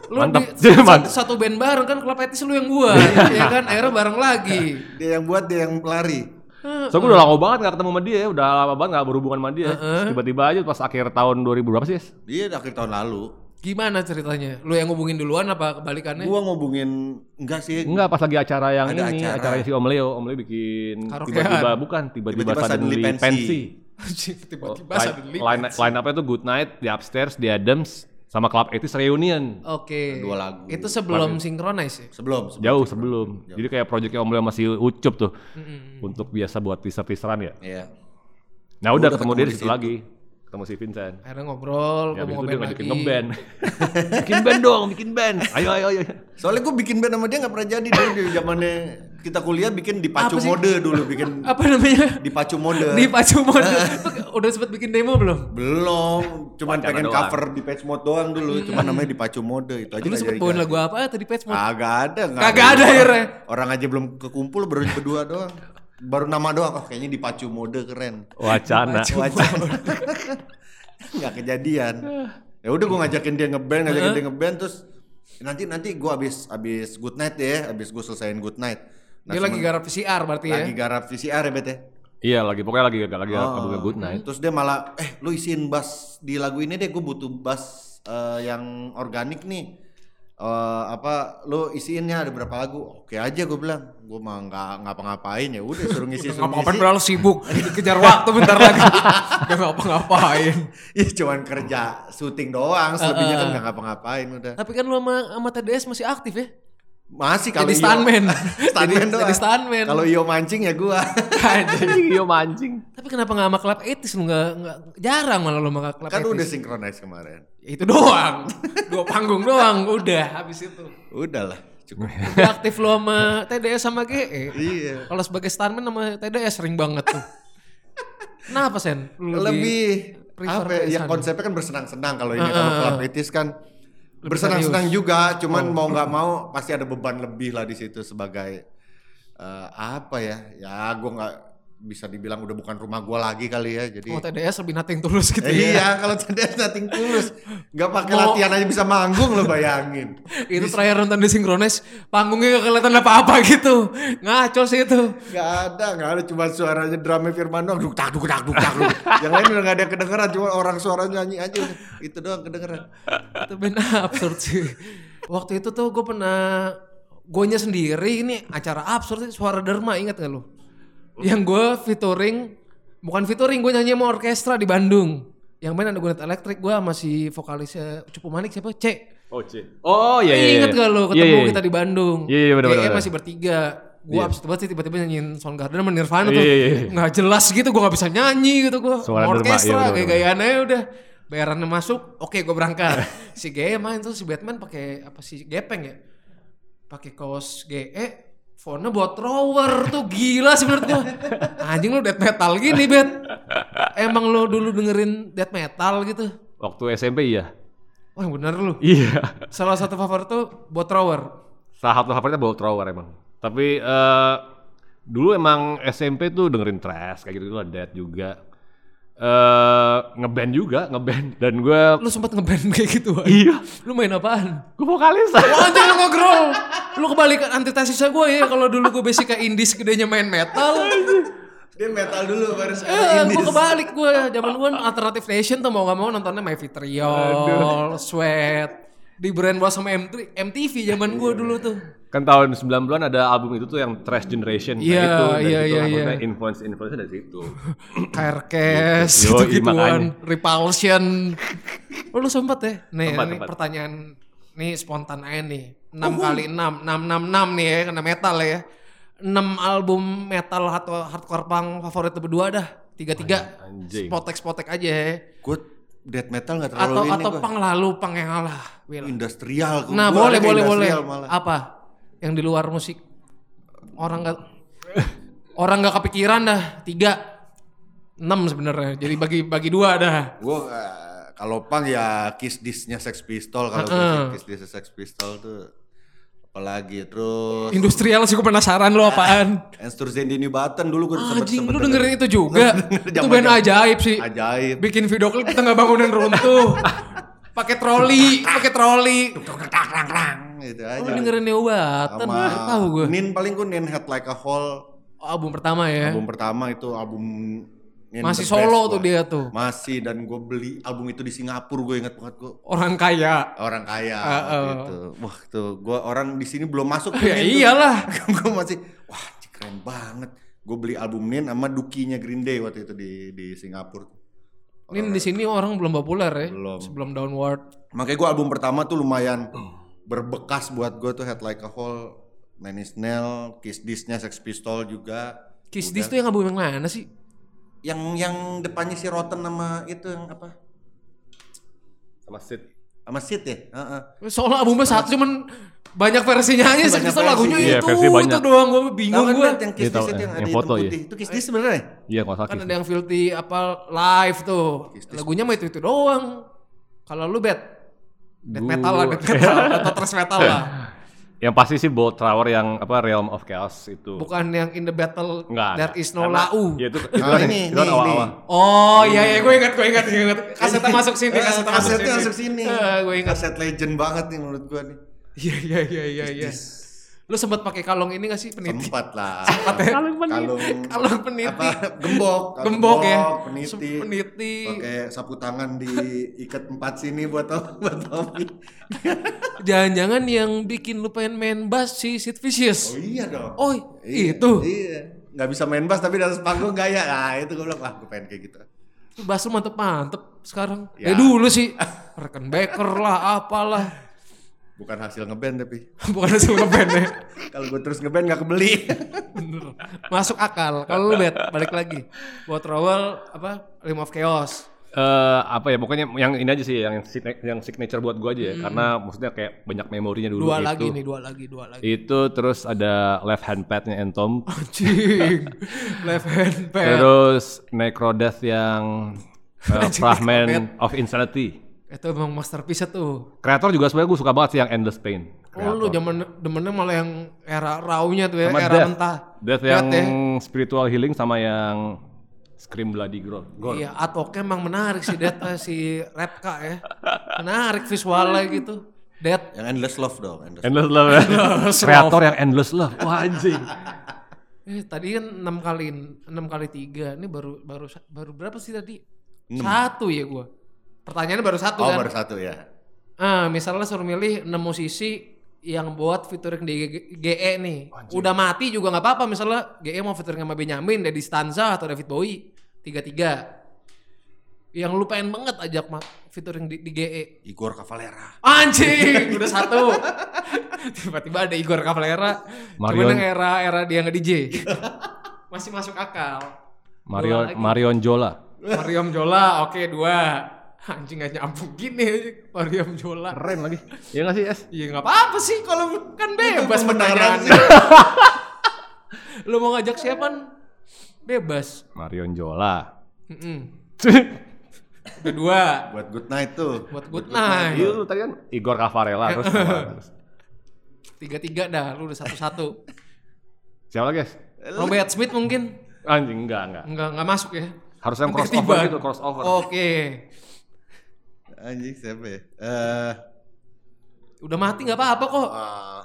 A: Lu
B: mantap.
A: di- satu,
B: Mantap. Iya.
A: satu band bareng kan klub etis lu yang buat ya kan akhirnya bareng lagi.
C: Dia yang buat, dia yang lari.
B: So gue udah lama banget gak ketemu sama dia, ya. udah lama banget gak berhubungan sama dia. Terus Tiba-tiba aja pas akhir tahun 2000 berapa sih? Yes?
C: Dia Iya, akhir tahun lalu.
A: Gimana ceritanya? Lu yang ngubungin duluan apa kebalikannya?
C: Gua ngobongin enggak sih.
B: Enggak, pas lagi acara yang
C: Ada
B: ini,
C: acara.
B: acaranya si Om Leo. Om Leo bikin
A: Karaokean.
B: tiba-tiba bukan, tiba-tiba
C: Tiba-tiba
B: suddenly
C: suddenly
B: pensi.
C: pensi.
B: Oh,
A: Tiba-tiba suddenly.
B: Line, line, line up-nya tuh Good Night, di Upstairs, di Adams, sama Club 80 Reunion.
A: Oke.
C: Dua lagu.
A: Itu sebelum sinkronize ya?
C: Sebelum, sebelum.
B: Jauh sebelum. Jadi kayak projectnya Om Leo masih ucup tuh. Untuk biasa buat teaser-teaseran ya.
C: Iya.
B: Nah udah,
C: Udah
B: ketemu
C: ketemu
B: dia di
C: di
B: situ
C: situ.
B: lagi. Ketemu si Vincent.
A: Akhirnya ngobrol,
B: Ya,
A: gua
B: abis
A: mau
B: itu dia
A: ngeband lagi.
B: ngajakin ngeband. bikin band dong, bikin band. Ayo, ayo, ayo.
C: Soalnya gue bikin band sama dia nggak pernah jadi dulu di zamannya kita kuliah bikin dipacu
A: Apa sih?
C: mode dulu bikin
A: Apa namanya?
C: dipacu mode.
A: Di Pacu Mode. Udah sempet bikin demo belum?
C: Belum, cuman
B: Wacana
C: pengen
B: doang.
C: cover di patch mode doang dulu, cuman namanya dipacu mode itu aja.
A: Dulu
C: nggak
A: sempet
C: jadi-jadi.
A: bawain lagu
B: Ah,
A: apa tadi Patch Mode?
C: Kagak ada,
A: Kagak ada akhirnya.
C: Orang aja belum kekumpul baru berdua doang. baru nama doang oh kayaknya dipacu mode keren
B: Wacana.
C: wajah nggak kejadian ya udah gue ngajakin dia ngeband ngajakin dia ngeband terus nanti nanti gue abis abis good night ya abis gue selesain good night Nah,
A: Dia lagi
C: semen-
A: garap PCR berarti
B: Nah,
A: ya.
C: lagi garap VCR ya bete
B: Iya lagi pokoknya lagi gak lagi
C: Oh.
B: oh. good night.
C: terus dia malah eh lu isiin bass di lagu ini deh gue butuh bass eh, yang organik nih Eh, apa lu isiinnya ada berapa lagu oke aja gue bilang gue mah nggak ngapa-ngapain ya udah suruh ngisi suruh
A: Ngapa-ngapain
C: ngisi
A: padahal sibuk. Iya Dikejar waktu bentar lagi. Gak ngapa-ngapain.
C: ya cuman kerja syuting doang selebihnya kan nggak ngapa-ngapain udah
A: Tapi kan lu sama, sama TDS masih aktif ya?
C: masih kalau
A: Jadi
C: Iyo-
A: stuntman.
C: stuntman
A: Jadi-
C: doang.
A: jadi stuntman.
C: kalau Iyo mancing ya gua
A: Anjing.
B: Iya mancing.
A: Tapi kenapa gak sama klub etis lu gak, nggak jarang malah lu sama klub
C: kan
A: etis.
C: udah sinkronize kemarin
A: Itu doang. Dua panggung doang udah habis itu.
C: udahlah cukup
A: Udah aktif lu sama TDS sama GE.
C: iya
A: Kalau sebagai stuntman sama TDS sering banget tuh. Kenapa Sen? Lu
C: lebih
A: prefer
C: apa
A: ke
C: ya, ya
A: sana.
C: konsepnya kan bersenang-senang kalau ini kalau klub etis kan
A: Lebih Oh.
C: bersenang-senang juga cuman mau nggak mau pasti ada beban lebih lah di situ sebagai eh, apa ya ya gua nggak bisa dibilang udah bukan rumah gua lagi kali ya jadi
A: mau TDS lebih nating tulus gitu
C: Eh,
A: ya.
C: iya kalau CDS nothing tulus nggak pakai
A: Mau-
C: latihan aja bisa manggung lo bayangin
A: itu terakhir nonton di sinkronis panggungnya gak kelihatan apa-apa gitu ngaco sih itu
C: nggak ada nggak ada cuma suaranya drumnya Firman doang duk tak duk tak duk tak duk yang lain udah nggak ada kedengeran cuma orang suaranya nyanyi aja udah. itu doang kedengeran
A: itu benar absurd sih waktu itu tuh gue pernah gonya sendiri ini acara absurd sih, suara derma ingat gak lu yang gue featuring bukan featuring gue nyanyi sama orkestra di Bandung yang main ada Gunet Electric gue masih vokalisnya cukup manik siapa C
B: Oh C. Oh iya iya. iya.
A: Ingat gak lo ketemu
B: Iya, iya, iya.
A: kita di Bandung?
B: Iya, iya, benar,
A: GE
B: benar, benar.
A: masih bertiga. Gue
B: Iya.
A: abis itu banget sih tiba-tiba nyanyiin Soundgarden sama Nirvana
B: Iya,
A: tuh.
B: iya, iya.
A: Nggak jelas gitu, gue gak bisa nyanyi gitu gue.
B: Suara derma, iya,
A: Orkestra kayak
B: benar, benar.
A: gayanya udah. Bayarannya masuk, oke gue berangkat. si GE main tuh si Batman pakai apa sih gepeng ya? Pakai kaos GE, fontnya buat thrower tuh gila sih menurut gue. Anjing lu death metal gini, Bet. Emang lo dulu dengerin death metal gitu?
B: Waktu SMP iya.
A: Wah bener lu.
B: Iya.
A: Salah satu favorit tuh buat thrower.
B: Salah satu favoritnya Bolt Thrower emang. Tapi eh dulu emang SMP tuh dengerin trash kayak gitu-gitu lah, Dead juga. Eh ngeband juga, ngeband dan gue
A: lu sempat ngeband kayak gitu Wan?
B: iya,
A: lu main apaan?
B: gue vokalis.
A: Anjir lu ngobrol lu kebalikan antitesisnya gue ya kalau dulu gue basic ke indies gedenya main metal
C: dia metal dulu baru
A: eh, gue kebalik gue zaman gue alternative nation tuh mau gak mau nontonnya My Vitriol Sweat di brand bawah sama M3 MTV zaman gue dulu tuh
B: kan tahun 90-an ada album itu tuh yang Trash Generation Nah,
A: Iya,
B: itu dari
A: iya,
B: situ
A: iya,
B: maksudnya
A: iya.
B: influence-influence dari situ.
A: Kerkes
B: Gitu.
A: gitu
B: Yoi,
A: gituan Repulsion oh, lu sempet ya? nih,
B: Sempet,
A: ini
B: sempet.
A: pertanyaan nih spontan aja nih 6
C: Uhuh.
A: kali 6 6 6 6 nih ya kena metal ya 6 album metal atau hardcore punk favorit lu berdua dah tiga tiga
B: Anjing.
A: spotek spotek aja ya
C: gue death metal nggak terlalu
A: atau
C: ini
A: atau
C: gua.
A: pang lalu pang yang kalah Will.
C: industrial gua.
A: nah
C: Gua
A: boleh
C: orangnya
A: boleh boleh
C: industrial malah.
A: apa yang di luar musik orang nggak orang nggak kepikiran dah tiga enam sebenarnya jadi bagi bagi dua dah
C: gue eh, kalau pang ya kiss disnya sex pistol kalau gua
A: Heeh.
C: sih kiss disnya sex pistol tuh apalagi terus
A: industrial sih gue penasaran lo apaan
C: Ensturzen di New Button dulu gue
A: anjing lu dengerin itu juga itu
C: Zaman-
A: band ajaib sih
C: ajaib
A: bikin video klip di tengah bangunan runtuh pakai troli pakai troli
C: gitu
A: lu
C: aja
A: dengerin New Button
C: sama
A: baru tahu gue
C: Nin paling gue Nin Head Like a Hole
A: album pertama ya
C: album pertama itu album Nin
A: Masih
C: the best
A: solo
C: gua.
A: tuh dia tuh.
C: masih dan gue beli album itu di Singapura gue inget banget gue
A: orang kaya
C: orang kaya
A: Ah,
C: waktu
A: ah.
C: itu wah tuh gue orang di sini belum masuk
A: ya
C: Nin tuh.
A: iyalah
C: gue masih wah cik, keren banget gue beli album Nin sama Dukinya Green Day waktu itu di di Singapura
A: ini di sini orang belum populer ya
C: Belum.
A: sebelum downward
C: makanya gue album pertama tuh lumayan berbekas buat gue tuh Head Like a Hole Nine Inch Nail Kiss This-nya Sex Pistol juga
A: Kiss
C: Udah.
A: This tuh yang album yang mana sih
C: yang yang depannya si Rotten sama itu yang apa
B: Sama Sid.
C: sama Sid ya Heeh.
A: soalnya albumnya satu cuman banyak versinya aja
C: Banyak
A: sih lagunya
C: versi.
B: Iya,
A: itu
B: versi
A: itu
B: banyak.
A: doang gue
C: Tahu
A: bingung
C: kan
A: gue
C: Nat, yang
B: Iya,
C: Kiss
B: tahu,
C: This itu yang
B: yang
C: ada hitam
B: foto ya.
C: putih itu Kiss This sebenarnya ya?
B: Iya, kalau sakit.
A: kan ada yang filthy apa live tuh lagunya mah itu itu doang kalau lu bet death metal lah death metal atau thrash metal lah
B: Yang pasti sih Bolt Tower yang apa Realm of Chaos itu.
A: Bukan yang in the battle
B: Enggak.
A: there is no
B: Karena-
A: lau.
B: Ya itu itu
C: Nah,
B: kan-
C: ini,
B: itu kan
C: ini,
B: awal-awal.
A: Oh iya iya gue ingat gue ingat gue ingat. Kasetnya masuk sini,
C: Eh,
A: kasetnya masuk sini.
C: kasetnya masuk sini.
A: Eh, gue ingat.
C: Kaset legend banget nih menurut gua nih.
A: Iya iya iya iya iya. Lu sempat pakai kalung ini gak sih peniti?
C: Sempat lah.
A: Kalung
C: Kalung
A: Kalung peniti.
C: apa gembok, kalung
A: Gembok ya.
C: peniti.
A: Sem- peniti.
C: Pakai sapu tangan diikat empat sini buat buat Tommy.
A: Jangan-jangan yang bikin lu pengen main bass si Sid
C: Oh
A: Vicious.
C: iya dong.
A: Oh,
C: Iya,
A: itu.
C: Iya. Nggak bisa main bass tapi di atas panggung gaya. Nah, itu gua bilang, ah gua pengen kayak gitu.
A: Itu bass lu mantep-mantep sekarang. Ya.
C: Ya.
A: dulu sih. Rickenbacker lah, apalah.
C: Bukan hasil ngeband tapi
A: Bukan hasil ngeband ya.
C: kalau gua terus ngeband nggak kebeli.
A: Bener. Masuk akal. Kalau lu bet, balik lagi. Buat Rowell, apa, Rim of Chaos.
B: Eh, apa ya pokoknya yang ini aja sih yang signa- yang signature buat gua aja ya karena maksudnya kayak banyak memorinya
A: Hmm.
B: dulu
A: Dua
B: gitu.
A: lagi nih, dua lagi, dua lagi.
B: Itu terus ada left hand padnya Entom,
A: Oh, Anjing. Left hand pad.
B: terus Necrodeath yang eh, Fragment of Insanity.
A: Itu emang masterpiece tuh.
B: Kreator juga sebenarnya gue suka banget sih yang Endless Pain.
A: Oh lu zaman demennya malah yang era raunya tuh ya,
B: Sama
A: era
B: Death.
A: mentah.
B: Death
A: Lihat
B: yang
A: ya.
B: Spiritual Healing sama yang Scream Bloody Groan.
A: Iya, atoknya emang menarik sih Death eh, si Repka ya. Menarik visualnya gitu. Death.
C: Yang endless love dong, endless.
B: Endless Love. ya.
A: Endless Love.
B: Kreator yang Endless Love. Wah anjing.
A: Eh, tadi kan 6 kali 6 kali 3. Ini baru baru baru berapa sih tadi? Satu ya gua. Pertanyaannya baru satu
C: Oh
A: kan.
C: baru satu ya.
A: Ah, misalnya suruh milih 6 musisi yang buat featuring di GE nih. Udah mati juga nggak apa-apa misalnya GE mau featuring sama Benyamin, Deddy Stanza atau David Bowie. Tiga-tiga. Yang lu pengen banget ajak ma- featuring di, E. di GE.
C: Igor Cavalera.
A: Anjing, udah satu. Tiba-tiba ada Igor Cavalera.
B: Marion.
A: Cuman yang era-era dia nge-DJ. Masih masuk akal. Dua
B: Marion
A: lagi.
B: Marion Jola.
A: Mariam Jola, oke dua. Anjing gak nyambung gini anjing. Mariam Jola.
B: Keren lagi. Iya nggak sih Es?
A: Iya nggak apa-apa sih kalau kan bebas
C: pembenaran
A: pertanyaannya. Lu mau ngajak siapa? Bebas.
B: Marion Jola.
A: Mm-mm. Udah dua
C: Buat good night tuh.
A: buat good night.
B: Iya lu tadi kan Igor Cavarella terus sama-
A: Tiga-tiga dah, lu udah satu-satu.
B: siapa lagi guys?
A: Robert Smith mungkin
B: Anjing enggak enggak.
A: nggak nggak masuk ya.
B: Harus yang
A: Sampai
B: crossover
A: ketiban.
B: gitu, crossover.
A: Oke.
C: Anjing siapa ya? Eh
A: Udah mati nggak apa-apa kok.
C: ah,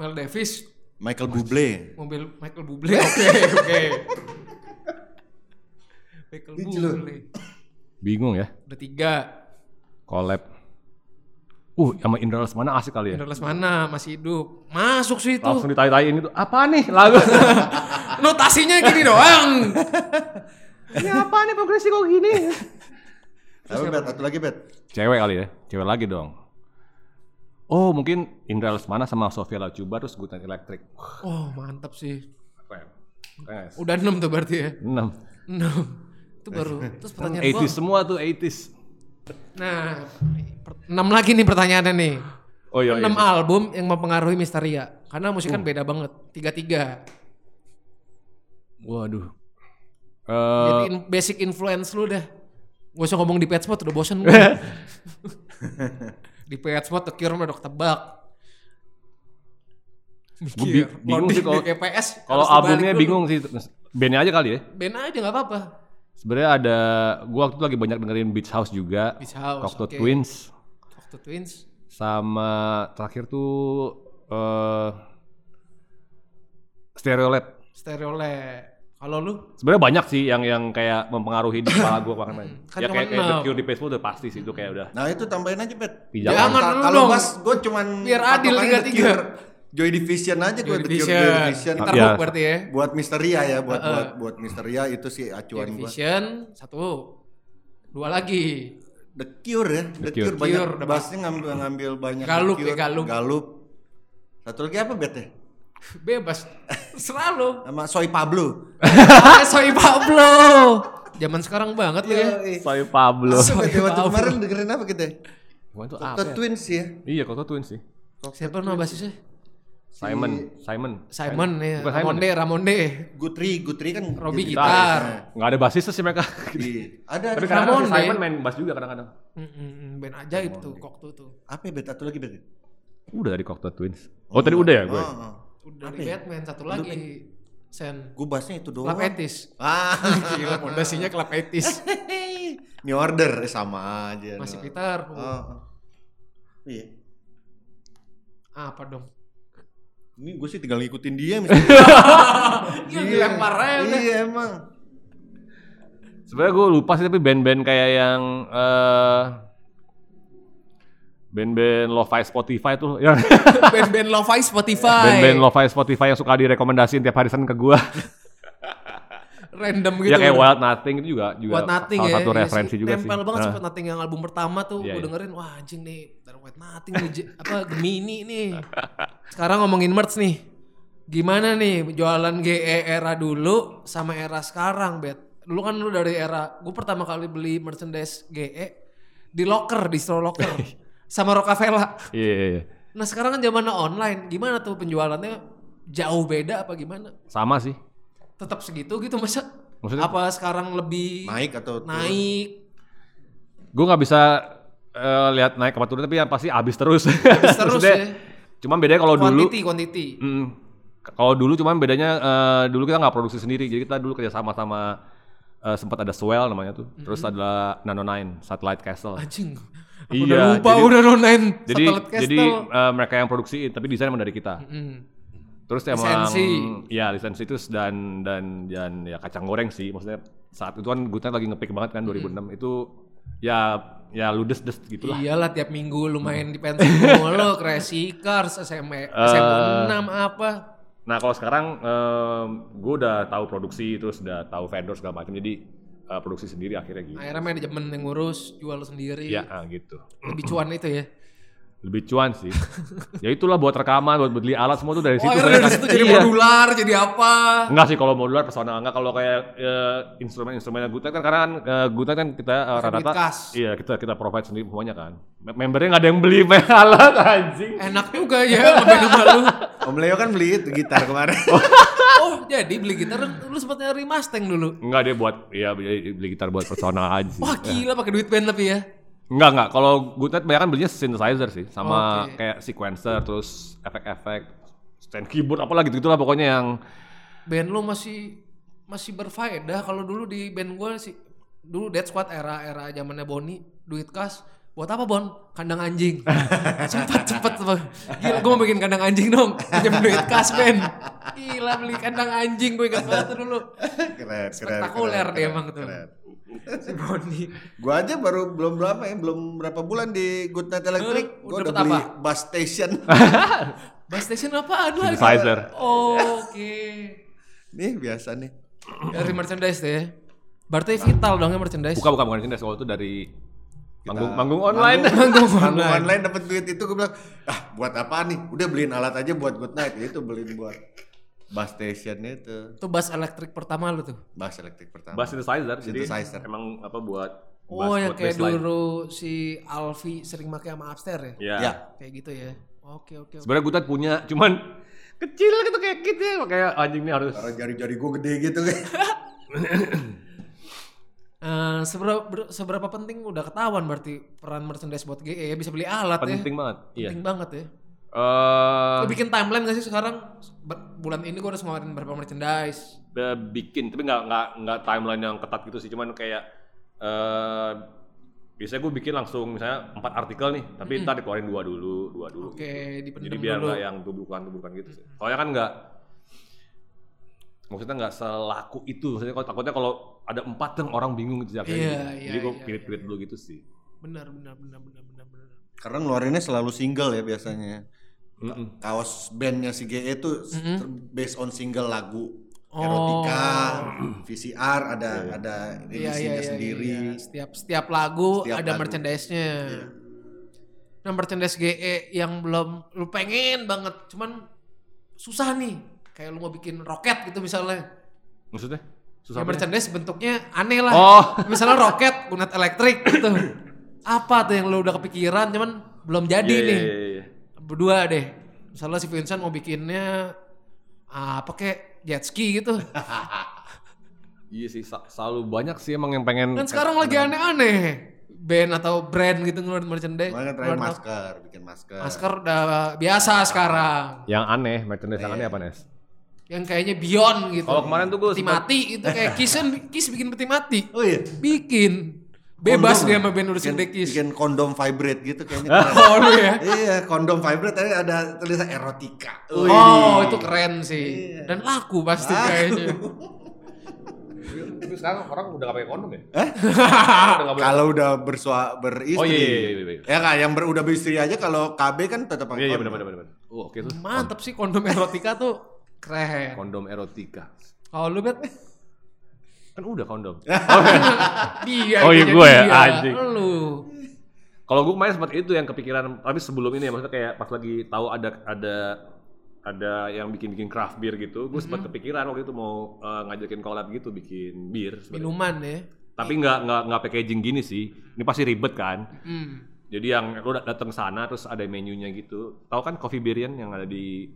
A: Mel Davis,
C: Michael Bublé.
A: mobil Michael Bublé. Oke, oke. Michael Bublé.
B: Bingung ya.
A: Udah tiga.
B: Collab. Uh, sama Indra Lesmana asik kali ya.
A: Indra Lesmana masih hidup. Masuk sih itu.
B: Langsung ditanya-tanyain gitu. Apa nih lagu?
A: Notasinya gini doang.
B: Ini apa nih progresi kok gini?
C: Apa bet? Satu lagi bet.
B: Cewek kali ya. Cewek lagi dong. Oh, mungkin Indra Lesmana sama Sofia Lacuba terus Gutan Electric. Wah,
A: Oh, mantap sih.
B: Keren. Keren. guys.
A: Udah 6 tuh berarti ya.
B: Enam.
A: 6. Itu baru. Terus pertanyaan gua.
B: 80s semua tuh 80s.
A: Nah, 6 lagi nih pertanyaannya nih.
B: Oh iya.
A: 6
B: iya. Oh.
A: album yang mempengaruhi Misteria. Karena musik kan beda banget. Tiga-tiga.
B: Waduh. Eh,
A: Jadi in- basic influence lu dah. Gak usah ngomong di pet spot udah bosen gue. di pet spot The Cure mah udah ketebak.
B: Gua bi- bingung sih kalau-
A: PS.
B: kalau albumnya bingung sih. Bandnya aja kali ya.
A: Ben aja gak apa-apa.
B: Sebenarnya ada gua waktu itu lagi banyak dengerin Beach House juga.
A: Beach House,
B: Cocteau
A: oke.
B: Twins
A: Waktu Twins.
B: sama terakhir tuh eh Stereo Lab.
A: Stereo Le. Kalau lu
B: Sebenarnya banyak sih yang yang kayak mempengaruhi di kepala gua banget.
A: Kan
B: ya
A: cuma
B: kayak, kayak The
A: enam.
B: Cure di Facebook udah pasti sih itu kayak udah
C: Nah itu tambahin aja bet.
B: pijakan.
A: Jangan dulu
C: Kalau
A: dong.
C: mas, gue cuman
A: Biar adil
C: patokannya
A: tiga
C: The
A: tiga.
C: Cure. Joy Division aja
A: Joy
C: gue The Cure,
A: Division.
C: Joy Division.
A: Kita
B: Iya.
A: hook berarti ya.
C: Buat misteria ya, buat buat buat misteria itu sih
A: Joy
C: acuan gue.
A: Division satu. Dua lagi.
C: The Cure ya, The,
B: Cure.
C: Cure, banyak
A: Cure, udah
C: bassnya ngambil ngambil banyak. The
A: Galup ya,
C: Cure,
A: Galup.
C: Satu lagi apa bet ya?
A: Bebas. Selalu.
C: Sama Soy Pablo.
A: Ah, Soy Pablo. Zaman sekarang banget lu ya.
C: Yoi.
B: Soy Pablo.
C: Apa, Bet, ya? waktu
A: Pablo.
C: kemarin dengerin apa kita? ya?
B: Gua itu
C: The
B: apa? ya?
C: Twins ya.
B: Iya, Cocteau Twins sih.
A: Siapa nama basisnya?
B: Simon, Simon.
A: Simon ya.
B: Bukan Simon.
A: Ramonde, Ramonde.
C: Gutri, Gutri kan.
A: Robby
C: Gutri.
A: gitar.
B: Enggak ada basisnya sih mereka.
C: Iya. Ada
B: Tapi kadang-kadang
C: ada.
B: si
A: Ramonde.
B: Simon main bass juga kadang-kadang.
A: Mm-mm, band ajaib tuh, Koktu tuh.
C: Apa ya bet? Satu lagi bet.
B: Udah dari Cocteau Twins.
A: Iya.
B: Oh, tadi udah ya gue.
C: Ah, ah.
A: Udah di Batman satu lagi. Sen.
C: Gue bahasnya itu doang.
A: Club Etis.
C: Ah,
A: Gila fondasinya Club Etis.
C: new order eh, sama aja.
A: Masih Uh,
C: doang.
A: Peter.
C: Ah, ah. Iya.
A: Apa dong?
C: Ini gue sih tinggal ngikutin dia misalnya.
A: Iya, dilempar aja udah.
C: Iya emang.
B: Sebenarnya gue lupa sih tapi band-band kayak yang eh band-band lo-fi Spotify tuh yang
A: Band-band lo-fi Spotify.
B: band-band lo-fi Spotify yang suka direkomendasiin tiap hari Senin ke gue.
A: Random gitu.
B: ya kayak Wild Nothing itu juga juga
A: Buat Nothing
B: salah
A: ya.
B: satu
A: Iya
B: referensi
A: sih.
B: juga sih.
A: Nempel banget
B: Nah,
A: sih Buat Nothing yang album pertama tuh
B: Iya,
A: gue
B: iya.
A: dengerin wah anjing nih ntar Buat Nothing nih Je- apa Gemini nih. Sekarang ngomongin merch nih. Gimana nih jualan GE era dulu sama era sekarang, Bet? Dulu kan lu dari era gue pertama kali beli merchandise GE di locker, di store locker sama Rockefeller.
B: Iya, iya, iya.
A: Nah, sekarang kan zamannya online. Gimana tuh penjualannya? Jauh beda apa gimana?
B: Sama sih.
A: Tetap segitu gitu masa?
B: Maksudnya?
A: apa sekarang lebih
C: Naik atau
A: Nah.
C: turun?
A: naik
B: Gue nggak bisa eh, lihat naik apa turun tapi yang pasti habis terus.
A: terus
B: Maksudnya,
A: ya.
B: Cuman bedanya kalau dulu
A: quantity quantity
B: Mm. Kalau dulu cuman bedanya eh, dulu kita nggak produksi sendiri, jadi kita dulu kerja sama sama eh, sempat ada Swell namanya tuh, terus adalah Nano Nine, Satellite Castle.
A: anjing aku udah
B: Iya,
A: lupa
B: jadi-
A: udah nonain
B: Jadi
A: Satellite Castle.
B: jadi eh, mereka yang produksi, tapi desain emang dari kita.
A: Mm.
B: Terus emang
A: Lisensi.
B: ya lisensi itu dan dan dan ya kacang goreng sih, maksudnya saat itu kan Guten lagi ngepick banget kan 2006 itu ya ya ludes des gitulah.
A: iyalah tiap minggu lu
B: Hmm.
A: main di pensi mulu Crazy Cars
B: Eh.
A: SM SM6 apa
B: Nah kalau sekarang gue udah tahu produksi, terus udah tahu vendor segala macam, jadi eh, produksi sendiri akhirnya gitu.
A: akhirnya manajemen yang ngurus jual sendiri
B: Ya ah, gitu.
A: lebih cuan itu ya
B: lebih cuan sih. ya itulah buat rekaman, buat beli alat semua tuh
A: oh
B: dari situ. kan Iya.
A: akhirnya dari situ jadi modular jadi apa
B: Enggak sih kalau modular personal enggak kalau kayak eh, instrumen-instrumen yang Guten kan karena kan eh, Guten kan kita eh, rata-rata
A: duit kas.
B: iya kita kita provide sendiri semuanya kan. Me- Membernya nggak ada yang beli main alat anjing.
A: enak juga ya ngeband sama lu
C: Om Leo kan beli itu gitar kemarin.
A: oh jadi beli gitar lu sempat nyari Mustang dulu
B: Enggak dia buat ya beli, beli gitar buat personal aja sih.
A: wah gila pakai duit band tapi ya
B: Enggak enggak kalau Guten banyak kan belinya synthesizer sih sama
A: Oke.
B: kayak sequencer terus efek-efek stand keyboard apalah gitu-gitulah pokoknya yang
A: band lo masih masih berfaedah kalau dulu di band gue sih dulu Dead Squad era era zamannya Boni duit kas buat apa Bon kandang anjing cepet cepet Bang. gila gue mau bikin kandang anjing dong pinjam duit kas band gila beli kandang anjing gue ingat banget tuh dulu
C: keren, keren.
A: spektakuler
C: keren,
A: dia
C: keren,
A: emang tuh
C: keren.
A: si Boni
C: Gua aja baru belum berapa ya, belum berapa bulan di Good Night Electric.
A: Eh,
C: Gua
A: dapet
C: udah beli
A: apa?
C: bus station.
A: bus station apaan lagi
B: synthesizer.
A: oh, oke
C: nih biasa nih.
A: dari merchandise deh berarti vital dong ya merchandise
B: Bukan bukan bukan sini soal itu dari manggung manggung online.
A: Manggung
C: Manggung
A: online.
C: online dapat duit itu gua bilang, "Ah, buat apa nih? Udah beliin alat aja buat Good Night." Itu beliin buat bus station itu.
A: itu bass elektrik pertama lu tuh
C: Bus elektrik pertama.
B: Bass synthesizer, jadi
C: Synthesizer.
B: emang apa buat
A: Oh
B: bass
A: yang
B: buat
A: kayak
B: bassline.
A: dulu si Alfi sering pakai sama Upstairs ya?
B: Ya.
C: Ya.
A: Kayak gitu ya. Oke oke. oke.
B: Sebenarnya Gutat punya, cuman kecil gitu kayak gitu kayak anjing ini harus.
C: Karena jari-jari gua gede gitu kan.
A: Eh, seberapa, ber- seberapa penting udah ketahuan berarti peran merchandise buat GE ya bisa beli alat
B: Penting banget.
A: ya.
B: Iya.
A: Penting banget ya.
B: Eh
A: Lu bikin timeline gak sih sekarang Ber- bulan ini gua harus ngeluarin berapa merchandise?
B: be- bikin tapi nggak nggak nggak timeline yang ketat gitu sih cuman kayak eh biasanya gue bikin langsung misalnya empat artikel nih tapi ntar dikeluarin dua dulu dua dulu
A: Oke, dipendem
B: jadi biar
A: dulu.
B: nggak ya. yang tubukan tubukan gitu sih soalnya kan nggak maksudnya nggak selaku itu maksudnya kalau takutnya kalau ada empat kan orang bingung gitu
A: Iya,
B: akhirnya gitu.
A: iya,
B: jadi gue
A: iya,
B: pilih-pilih dulu gitu sih
A: Benar benar benar benar benar benar.
C: Karena ngeluarinnya selalu single ya biasanya.
B: Mm-mm.
C: kaos bandnya si GE itu s-
A: Mhm.
C: ter- based on single lagu
A: Oh.
C: erotika, VCR ada ada
A: Iya
C: edisinya
A: iya iya,
C: sendiri.
A: iya. Setiap setiap lagu
C: Setiap
A: ada
C: lagu.
A: merchandise-nya.
C: Iya.
A: Nah, merchandise GE yang belum lu pengen banget, cuman susah nih. Kayak lu mau bikin roket gitu misalnya.
B: maksudnya
A: Ya,
B: susah apa ya?
A: merchandise bentuknya aneh lah.
B: Oh.
A: Misalnya roket, gunat elektrik gitu. Apa tuh yang lu udah kepikiran cuman belum jadi
B: Iya,
A: nih.
B: iya, iya, iya.
A: Berdua deh. Misalnya si Vincent mau bikinnya ah, apa kayak jet ski gitu.
B: Iya sih, sa- selalu banyak sih emang yang pengen
A: Kan sekarang lagi Kan aneh-aneh. band atau brand gitu ngeluarin merchandise.
C: Kemarin kan terakhir
A: Ngeluarin apa?
C: masker, bikin masker.
A: Masker udah biasa sekarang.
B: Yang aneh, merchandise yang aneh
A: Iya.
B: apa Nes?
A: Yang kayaknya beyond gitu.
B: Kalau kemarin tuh gue
A: peti mati itu kayak Kissen Kiss bikin peti mati.
C: Oh iya.
A: Bikin. Bebas
C: Kondom.
A: dia sama band urusin
C: Oh, Bikin-
A: deh Kiss.
C: Bikin kondom vibrate gitu kayaknya. keren.
A: Oh lu ya.
C: iya, kondom vibrate tapi ada tulisan erotika.
B: iya.
A: Oh, itu keren sih.
C: Iya.
A: Dan laku pasti kayaknya.
B: Tapi sekarang orang udah gak pakai kondom ya?
C: Kalau udah bersua beristri.
B: Oh iya, iya, iya, iya.
C: Ya kan, yang ber, udah beristri aja kalau KB kan tetap
B: Iya, iya
C: kondom.
B: benar benar benar. Oh, oke tuh.
A: Mantap sih kondom erotika tuh keren.
B: Kondom erotika.
A: Kalau lu bet
B: Kan udah kondom.
A: dia
B: Oh, iya,
A: jadi
B: gua ya?
A: dia.
B: Anjing.
A: Lu.
B: Kalau gue kemarin sempat itu yang kepikiran, tapi sebelum ini ya maksudnya kayak pas lagi tahu ada ada ada yang bikin-bikin craft beer gitu, gue sempat kepikiran waktu itu mau eh, ngajakin collab gitu bikin bir. sebenarnya.
A: Minuman ya.
B: Tapi nggak nggak nggak packaging gini sih. Ini pasti ribet kan.
A: Hmm.
B: Jadi yang lu dat- datang sana terus ada menunya gitu. Tahu kan Coffee Birian yang ada di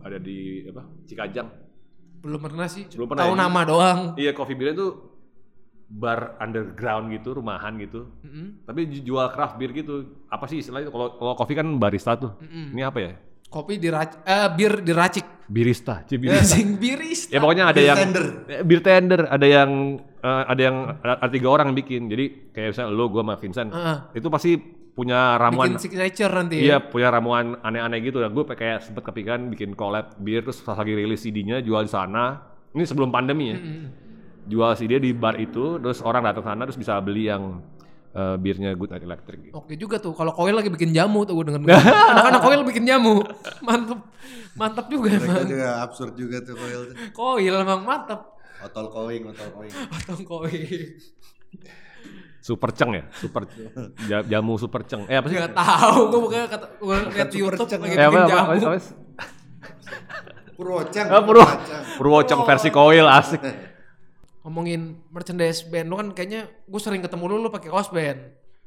B: ada di apa? Cikajang.
A: Belum pernah sih.
B: Belum pernah
A: Tahu
B: ya?
A: nama doang.
B: Iya, Coffee Birian tuh bar underground gitu, rumahan gitu.
A: Mm-mm.
B: Tapi ju- jual craft beer gitu. Apa sih istilahnya kalau kalau kopi kan barista tuh.
A: Hmm.
B: Ini apa ya?
A: Kopi dirac eh bir diracik.
B: Birista,
C: Iya,
B: cibirista.
A: Sing biris.
B: ya pokoknya ada
C: Beer
B: yang
C: tender.
B: Eh, beer tender, ada yang eh, ada yang ada, ada tiga orang yang bikin. Jadi kayak misalnya lo, gua sama Vincent.
A: Heeh.
B: Itu pasti punya
A: Ah, Bikin
B: ramuan
A: signature nanti. ya?
B: Iya, punya ramuan aneh-aneh gitu. Nah, gue kayak sempet kepikiran bikin collab bir terus pas lagi rilis CD-nya jual di sana. Ini sebelum pandemi
A: Hmm,
B: ya. Jual CD di bar itu, terus orang datang sana terus bisa beli yang eh, birnya Good Night Electric gitu.
A: Oke juga tuh. Kalau koil lagi bikin jamu tuh gue denger. Anak-anak koil bikin jamu. Mantep. Mantep juga
C: Mereka
A: emang.
C: juga absurd juga tuh koil tuh.
A: Koil emang mantep.
C: Otol koing, otol koing.
A: Potong koil.
B: Super ceng ya, super ja- jamu super ceng. Eh apa sih?
A: Gak tau. Gue bukannya kata gue liat di
C: super Ya,
A: YouTube
C: ceng.
A: lagi
B: Eh apa?
A: Iya, bikin
B: apa, apa,
A: jamu.
B: apa?
C: Purwocang.
B: Ah, Purwo. Purwoceng versi koil asik.
A: Ngomongin merchandise band lu kan kayaknya gue sering ketemu lu lu pakai kaos band.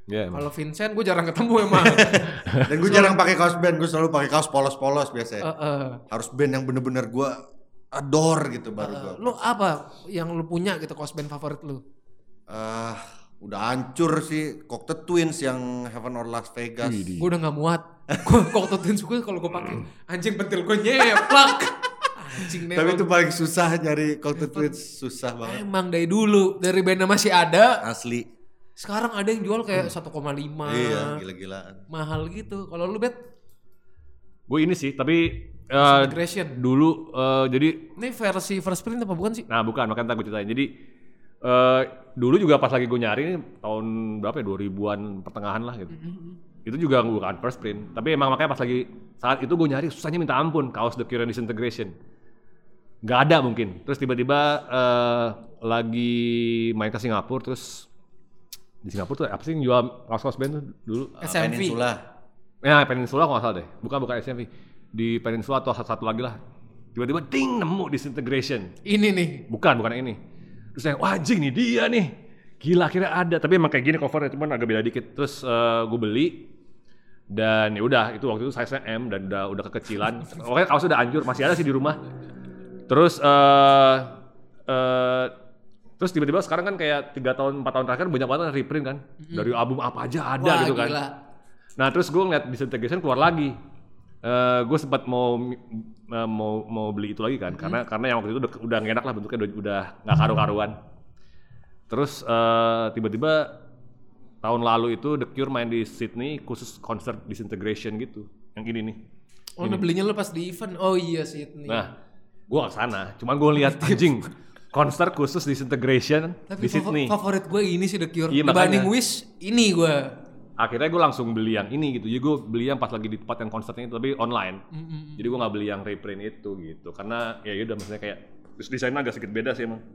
B: Iya, emang.
A: Kalau Vincent gue jarang ketemu emang.
C: Dan gue jarang pakai kaos band, gue selalu pakai kaos polos-polos
B: Ah.
C: biasanya.
A: Heeh.
C: Harus band yang bener-bener gue adore gitu baru gue.
B: Ah,
A: Lu apa yang lu punya gitu kaos band favorit lu?
C: Ah, udah hancur sih Cocteau Twins yang Heaven or Las Vegas.
B: Widih.
A: Gue udah gak muat. Gue kok gue kalau gue pakai anjing pentil gue nyeplak. Anjing nih.
C: Tapi itu paling susah nyari Cocteau Twins, susah banget.
A: Emang dari dulu dari bandnya masih ada.
C: Asli.
A: Sekarang ada yang jual
B: Hmm.
A: kayak 1,5
C: Iya, gila-gilaan.
A: mahal gitu. Kalau lu bet
B: Gue ini sih, tapi eh,
A: aggression.
B: dulu eh, jadi
A: Ini versi first print apa bukan sih?
B: Nah bukan, makanya ntar gue ceritain. Jadi eh dulu juga pas lagi gue nyari ini tahun berapa ya, 2000-an pertengahan lah gitu. Itu juga bukan first print. Tapi emang makanya pas lagi saat itu gue nyari susahnya minta ampun kaos The Cure and Disintegration. Nggak ada mungkin. Terus tiba-tiba eh lagi main ke Singapura terus di Singapura tuh apa sih yang jual kaos-kaos band tuh dulu?
A: SMV.
C: Peninsula.
B: Ya Peninsula kalau nggak salah deh. Bukan bukan SMV. Di Peninsula atau satu, satu lagi lah. Tiba-tiba ting nemu Disintegration.
A: Ini nih.
B: Bukan, bukan yang ini. Terus saya, wah anjing nih dia nih. Gila akhirnya ada, tapi emang kayak gini covernya cuman agak beda dikit. Terus gue beli dan ya udah itu waktu itu size M dan udah udah kekecilan. Pokoknya kaosnya udah hancur, masih ada sih di rumah. Terus eh eh, terus tiba-tiba sekarang kan kayak tiga tahun empat tahun terakhir banyak banget reprint kan. Dari album apa aja ada
A: Wah,
B: gitu kan.
A: gila.
B: Nah terus gue ngeliat disintegration keluar lagi. gue sempat mau mi- eh, mau mau beli itu lagi kan, karena karena yang waktu itu udah udah nggak enak lah bentuknya udah udah nggak karu-karuan. Terus eh, tiba-tiba tahun lalu itu The Cure main di Sydney khusus konser disintegration gitu, yang ini nih.
A: Oh, udah belinya lu pas di event. Oh iya sih ini.
B: Nah, gue gak sana, cuman gue lihat anjing konser khusus disintegration
A: Tapi
B: di
A: favo-
B: Sydney.
A: favorit gue ini sih The Cure.
B: Iya,
A: Dibanding
B: makanya.
A: Wish, ini gue.
B: akhirnya gue langsung beli yang ini gitu jadi gue beli yang pas lagi di tempat yang konsernya itu tapi online
A: Mm,
B: jadi gue nggak beli yang reprint itu gitu karena ya udah maksudnya kayak terus desainnya agak sedikit beda sih emang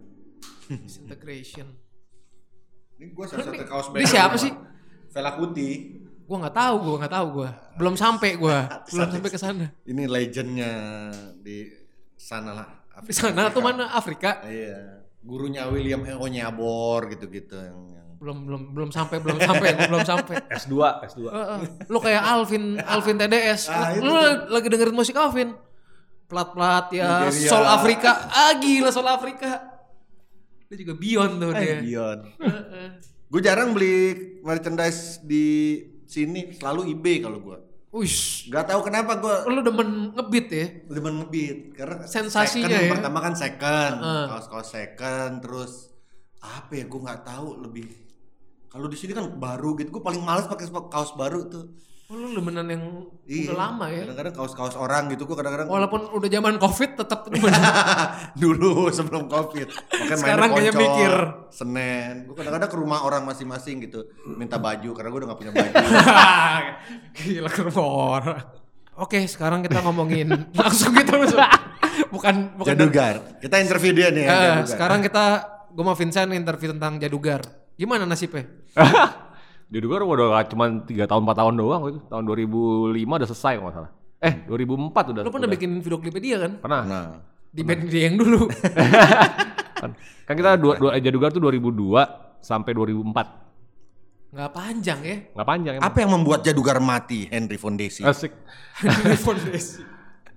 A: Disintegration.
C: Ini gue satu kaos
A: Ini siapa sih?
C: Vela Kuti.
A: Gue nggak tahu, gue nggak tahu gue. Belum sampai gue. Belum sampai ke sana.
C: Ini legendnya di sana lah.
A: Di sana Nah, tuh mana Afrika?
C: Iya. Gurunya William E. Onyabor gitu-gitu yang, yang
A: Belum belum belum sampai, belum sampai, gua belum sampai.
B: S2 S2
A: Heeh. Ah, Lu kayak Alvin, Alvin TDS. lu lu lagi dengerin musik Alvin. Plat-plat ya
C: Nigeria.
A: Soul Afrika. Ah Eh, gila Soul Afrika. Itu juga Beyond tuh dia.
C: Bion. Gue jarang beli merchandise di sini, selalu eBay kalau gue.
A: Uish,
C: Gak tahu kenapa gue
A: lu demen ngebit ya?
C: demen ngebeat karena
A: Sensasinya
C: second,
A: ya.
C: pertama kan second,
A: Heeh.
C: kaos kaos second, terus apa ya gue nggak tahu lebih. Kalau di sini kan baru gitu, gue paling males pakai kaos baru tuh. Iya,
A: Oh, lu demenan yang udah lama ya? Oh,
C: Kadang-kadang kaos-kaos orang gitu, gue kadang-kadang
A: Walaupun udah zaman covid tetap demenan.
C: dulu sebelum covid Makanya
A: Sekarang kayaknya mikir.
C: Senin gue kadang-kadang ke rumah orang masing-masing gitu minta baju karena gue udah gak punya baju
A: Gila kerumah orang. Oke, sekarang kita ngomongin langsung gitu langsung. Bukan bukan
C: jadugar kita interview dia nih
A: Eh,
C: ya, Jadugar.
A: sekarang kita gue mau Vincent interview tentang Jadugar. Gimana nasibnya?
B: Di Dugar udah cuma 3 tahun 4 tahun doang itu. Tahun 2005 udah selesai kalau nggak salah. Eh, 2004 udah.
A: Lu pernah
B: udah.
A: bikin video klipnya dia kan?
B: Pernah.
C: nah
A: Di band dia yang dulu.
B: Kan, kan kita dua, dua, Jadugar tuh 2002 sampai 2004.
A: Nggak panjang ya.
B: Nggak panjang emang.
C: apa yang membuat jadugar mati Henry Fondesi
B: Asik.
A: Di fondasi.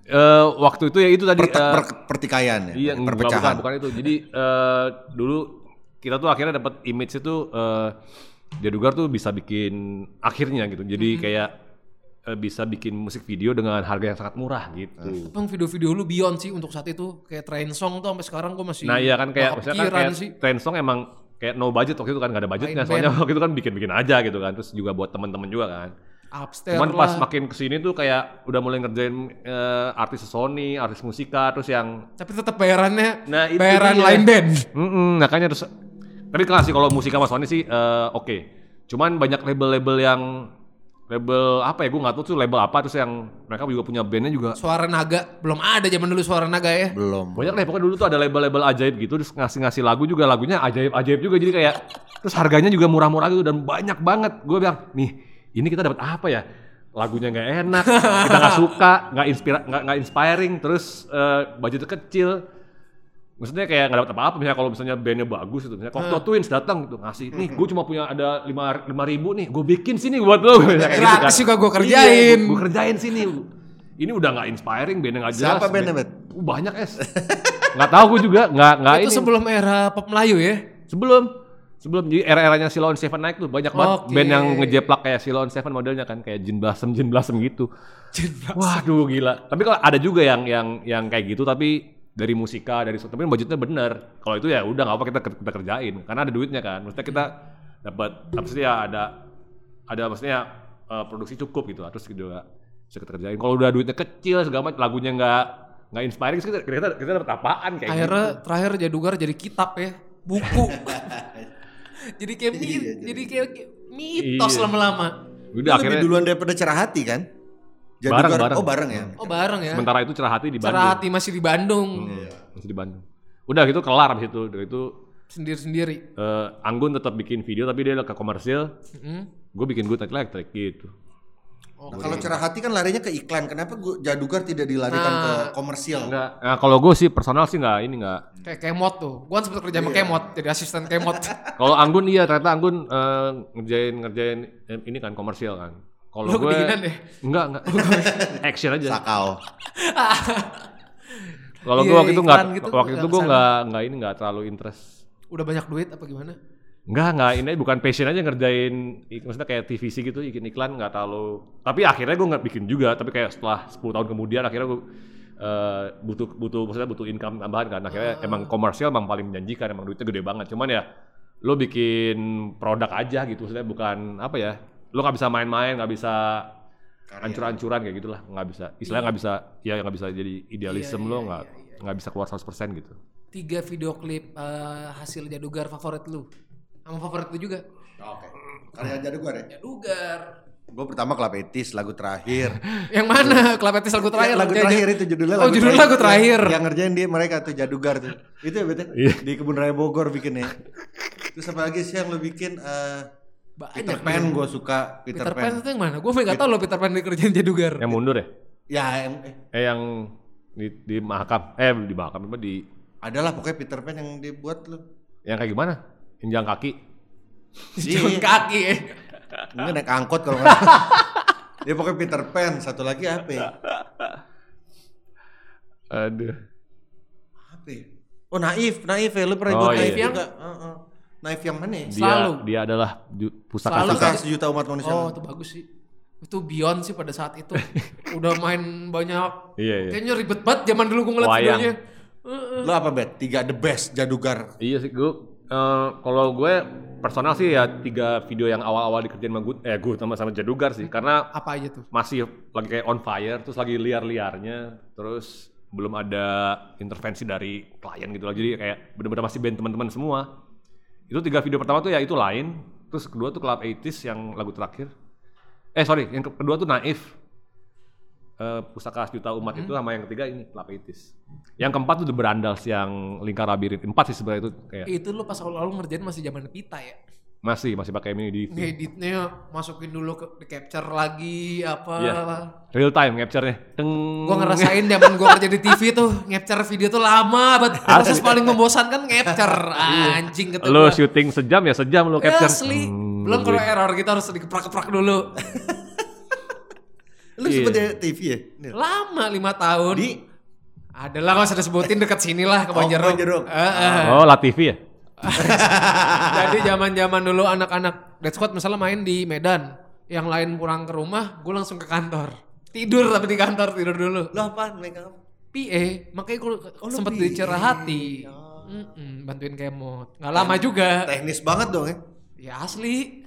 B: Eh, waktu itu ya itu tadi.
C: Per-
B: eh,
C: per- pertikaian ya
B: Iya, enggak, bukan,
C: perpecahan
B: bukan itu. Jadi eh, dulu kita tuh akhirnya dapat image itu eh, Jadugar tuh bisa bikin akhirnya gitu. Jadi kayak eh, bisa bikin musik video dengan harga yang sangat murah gitu.
A: Bang video-video lu beyond sih untuk saat itu kayak train song tuh sampai sekarang gue masih
B: Nah, iya kan
A: nggak
B: kayak maksudnya kan
A: kepikiran
B: kayak
A: sih.
B: trend song emang kayak no budget waktu itu kan nggak ada budgetnya.
A: Main
B: Soalnya waktu itu kan bikin-bikin aja gitu kan. Terus juga buat teman-teman juga kan.
A: Upstairs
B: Cuman pas
A: lah.
B: makin kesini tuh kayak udah mulai ngerjain eh, artis Sony, artis musika, terus yang
A: Tapi tetap bayarannya
B: Nah, itu
A: bayaran
B: dia.
A: lain band.
B: Mm-mm, makanya terus tapi kelas sih kalau musik sama Sony sih eh, oke. Cuman banyak label-label yang label apa ya gue nggak tahu tuh label apa terus yang mereka juga punya bandnya juga
A: Suara naga belum ada zaman dulu suara naga ya.
C: belum
B: banyak deh pokoknya dulu tuh ada label-label ajaib gitu terus ngasih-ngasih lagu juga lagunya ajaib-ajaib juga jadi kayak terus harganya juga murah-murah gitu dan banyak banget gue bilang nih ini kita dapat apa ya lagunya nggak enak kita nggak suka nggak inspira nggak nggak inspiring terus eh, budgetnya kecil maksudnya kayak nggak dapat apa-apa misalnya kalau misalnya bandnya bagus itu misalnya Cocteau
A: Hmm.
B: Twins datang gitu ngasih nih gue cuma punya ada lima lima ribu nih gue bikin sini buat lo Misalnya kayak gitu kan.
A: Gratis juga gua kerjain.
B: gue kerjain sini ini udah nggak inspiring bandnya nggak jelas
C: Siapa bandnya, Bet?
B: Uh, banyak es nggak tahu gue juga nggak nggak
A: itu
B: Nah, ini
A: sebelum era pop Melayu ya.
B: sebelum sebelum jadi era-eranya Silon Seven naik tuh banyak banget
A: Oke.
B: band yang ngejeplak kayak Silon Seven modelnya kan kayak Jin Blossom Jin Blossom gitu waduh gila tapi kalau ada juga yang yang yang kayak gitu tapi dari musika dari tapi kan budgetnya bener kalau itu ya udah nggak apa kita kita kerjain karena ada duitnya kan maksudnya kita dapat apa sih ya ada ada maksudnya eh, produksi cukup gitu terus juga bisa kita kerjain kalau udah duitnya kecil segala macam lagunya nggak nggak inspiring terus kita kita, kita dapat apaan kayak gitu.
A: Akhirnya terakhir Jadugar jadi kitab ya, buku. jadi kayak mi- jadi kayak mitos
B: Iya.
A: lama-lama.
B: Udah
C: Lu
B: akhirnya
C: lebih duluan daripada cerah hati kan
B: Bareng,
C: Jadugar-
B: bareng.
C: oh bareng ya
A: Oh bareng ya.
B: sementara itu cerah hati di
A: Cara
B: Bandung.
A: hati masih di Bandung
B: Iya, masih di Bandung. Udah gitu kelar abis itu. Dari itu
A: sendiri-sendiri.
B: eh, Anggun tetap bikin video tapi dia ke komersil.
A: Mm.
B: Gue bikin good night electric gitu.
C: Nah, kalau cerah hati kan larinya ke iklan kenapa gua, jadugar tidak dilarikan ke komersial
B: Enggak, nah, kalau gue sih personal sih nggak ini nggak.
A: Kayak Kemot tuh. Gua kan sempet kerja sama Kemot jadi asisten Kemot.
B: Kalau Anggun iya ternyata Anggun eh, ngerjain ngerjain eh, ini kan komersil kan. Kalau
A: Lu
B: gue
A: kedinginan ya?
B: enggak enggak action aja.
C: sakau
B: Kalau
A: Iya,
B: gue waktu itu nggak
A: iklan gitu,
B: waktu itu
A: nggak
B: gue
A: kesana.
B: nggak nggak ini nggak terlalu interest
A: Udah banyak duit apa gimana?
B: Enggak, enggak. Ini bukan passion aja ngerjain, ik- maksudnya kayak TVC gitu, bikin iklan nggak terlalu. Tapi akhirnya gue nggak bikin juga. Tapi kayak setelah 10 tahun kemudian, akhirnya gue eh, butuh butuh maksudnya butuh income tambahan kan. Akhirnya emang komersial emang paling menjanjikan, emang duitnya gede banget. Cuman ya lo bikin produk aja gitu, maksudnya bukan apa ya? Lo nggak bisa main-main, nggak bisa ancur-ancuran kayak gitulah, nggak bisa. Istilahnya nggak bisa, ya nggak bisa jadi idealisme lo nggak nggak bisa keluar 100% gitu.
A: Tiga video klip eh, hasil Jadugar favorit lu. Sama favorit lu juga.
C: oke karya jadugar ya
A: Jadugar.
C: gue pertama Club Etis lagu terakhir
A: Yang mana? Klapetis lagu
C: Iya,
A: terakhir.
C: lagu
A: Jajan-
C: terakhir Iya. itu judulnya
A: Oh, judulnya lagu terakhir.
C: Yang, yang ngerjain dia mereka tuh jadugar tuh. Itu ya betul. Di kebun raya Bogor bikinnya. Terus apa lagi sih yang lo bikin eh, Peter
A: Banyak
C: Pan gue suka Peter,
A: Peter
C: Pan.
A: Pan itu yang mana? Gue nggak tahu loh Peter Pan dikerjain Jadugar.
B: Yang mundur ya?
C: Ya em- eh,
B: Eh yang di, di mahakam, eh di mahakam apa di
C: adalah pokoknya Peter Pan yang dibuat lo.
B: yang kayak gimana? Yang jalan kaki. Iya.
A: Jalan kaki. eh.
C: Ini naik angkot kalau nggak salah. Dia pokoknya Peter Pan, satu lagi apa ya?
B: Aduh.
C: Apa ya? Oh naif, naif ya, lu pernah
B: Oh,
C: ikut
B: iya.
C: naif ya,
A: Yang-
C: iya. juga? Heeh. Naif yang mana? ya?
B: Dia
A: Selalu.
B: dia adalah ju- pusaka
A: Selalu.
B: pusaka.
C: Apakah sejuta umat manusia?
A: Oh, itu bagus sih. Itu Beyond sih pada saat itu. Udah main banyak.
B: Iya, iya.
A: Kayaknya ribet banget zaman dulu gue ngeliat
B: Wayang.
A: videonya.
C: Lo apa bet? Tiga the best jadugar.
B: Iya sih gue eh, kalau gue personal sih ya tiga video yang awal-awal dikerjain sama gue eh gue sama sama Jadugar sih karena
A: Apa aja tuh?
B: masih lagi kayak on fire terus lagi liar-liarnya terus belum ada intervensi dari klien gitu lagi jadi kayak bener-bener masih band teman-teman semua itu tiga video pertama tuh ya itu lain terus kedua tuh Club 80s yang lagu terakhir eh sorry yang ke- kedua tuh Naif Eh, pusaka sejuta umat
A: Mm-hmm.
B: itu sama yang ketiga ini Club 80s yang keempat tuh The Berandals yang lingkar labirin empat sih sebenarnya itu kayak
A: Itu lu pas awal-awal ngerjain masih zaman pita ya.
B: masih masih pakai mini di
A: Iya. Ngeditnya masukin dulu ke di capture lagi apa.
B: Iya. real time capture-nya Teng.
A: Gue ngerasain zaman gue kerja di TV tuh ngepcer video tuh lama banget. Proses paling membosankan ngepcer anjing kata gua.
B: lo syuting sejam ya sejam lo
A: Ya,
B: Iya. capture
A: Asli.
B: Hmm,
A: Belum kalau error kita harus dikeprak-keprak dulu.
C: Lo
B: Iya.
C: sempet di TV ya? Nil?
A: Lama lima tahun.
C: Di
A: Adalah kalau sudah sebutin dekat sinilah ke
C: Oh,
A: Banjarok.
C: Banjarok.
A: Heeh.
B: Oh, Latifi ya?
C: Ah.
A: Jadi zaman-zaman dulu anak-anak Dead Squad misalnya main di Medan, yang lain pulang ke rumah, gue langsung ke kantor. Tidur tapi di kantor tidur dulu.
C: lo apaan mereka? apa?
A: PA, makanya gue
C: Oh, lu
A: sempet
C: PA.
A: dicerahati. Mm-mm, bantuin kemot. Gak lama juga.
C: Teknis banget dong ya.
A: Ya asli.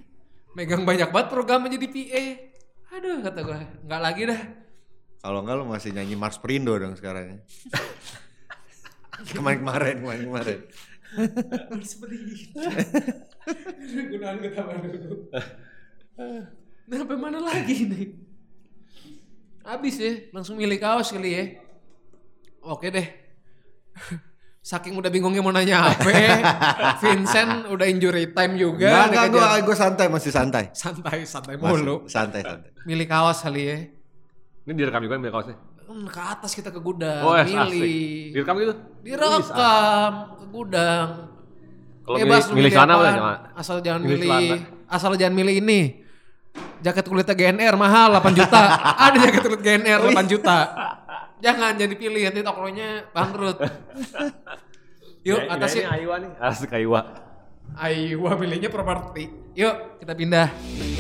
A: Megang banyak banget program menjadi PA. Aduh kata gue, nggak lagi dah.
C: Kalau enggak lo masih nyanyi Mars Perindo dong sekarang ya. kemarin-kemarin, kemarin-kemarin.
A: Seperti itu. Gunaan ketawa dulu. Nah, sampai mana lagi nih? Habis ya, langsung milih kaos kali ya. Oke deh. Saking udah bingungnya mau nanya apa, Vincent udah injury time
C: Enggak,
A: juga.
C: enggak,
A: dikejar.
C: gue, gue santai, masih santai.
A: santai santai
C: Masih
A: mulu.
C: Santai, santai.
A: Milih kaos kali ya.
B: Ini direkam juga nih kaosnya.
A: Hmm, Ke atas kita ke gudang,
B: Oh, asli.
A: Eh, milih.
B: Direkam gitu.
A: Direkam ke gudang.
B: Kalau
A: Bebas
B: milih-
A: lu
B: milih celana
A: apaan.
B: boleh, Mak?
A: Asal jangan
B: Milih
A: milih,
B: celana.
A: asal jangan milih ini. Jaket kulitnya GNR mahal 8 juta. Ada jaket kulit GNR 8 juta. Jangan jadi pilih nanti tokonya bangkrut. Yuk
B: Ya,
A: atas
B: ini
A: yuk.
B: Aiwa nih. Asik Aiwa.
A: Aiwa milihnya properti. Yuk kita pindah.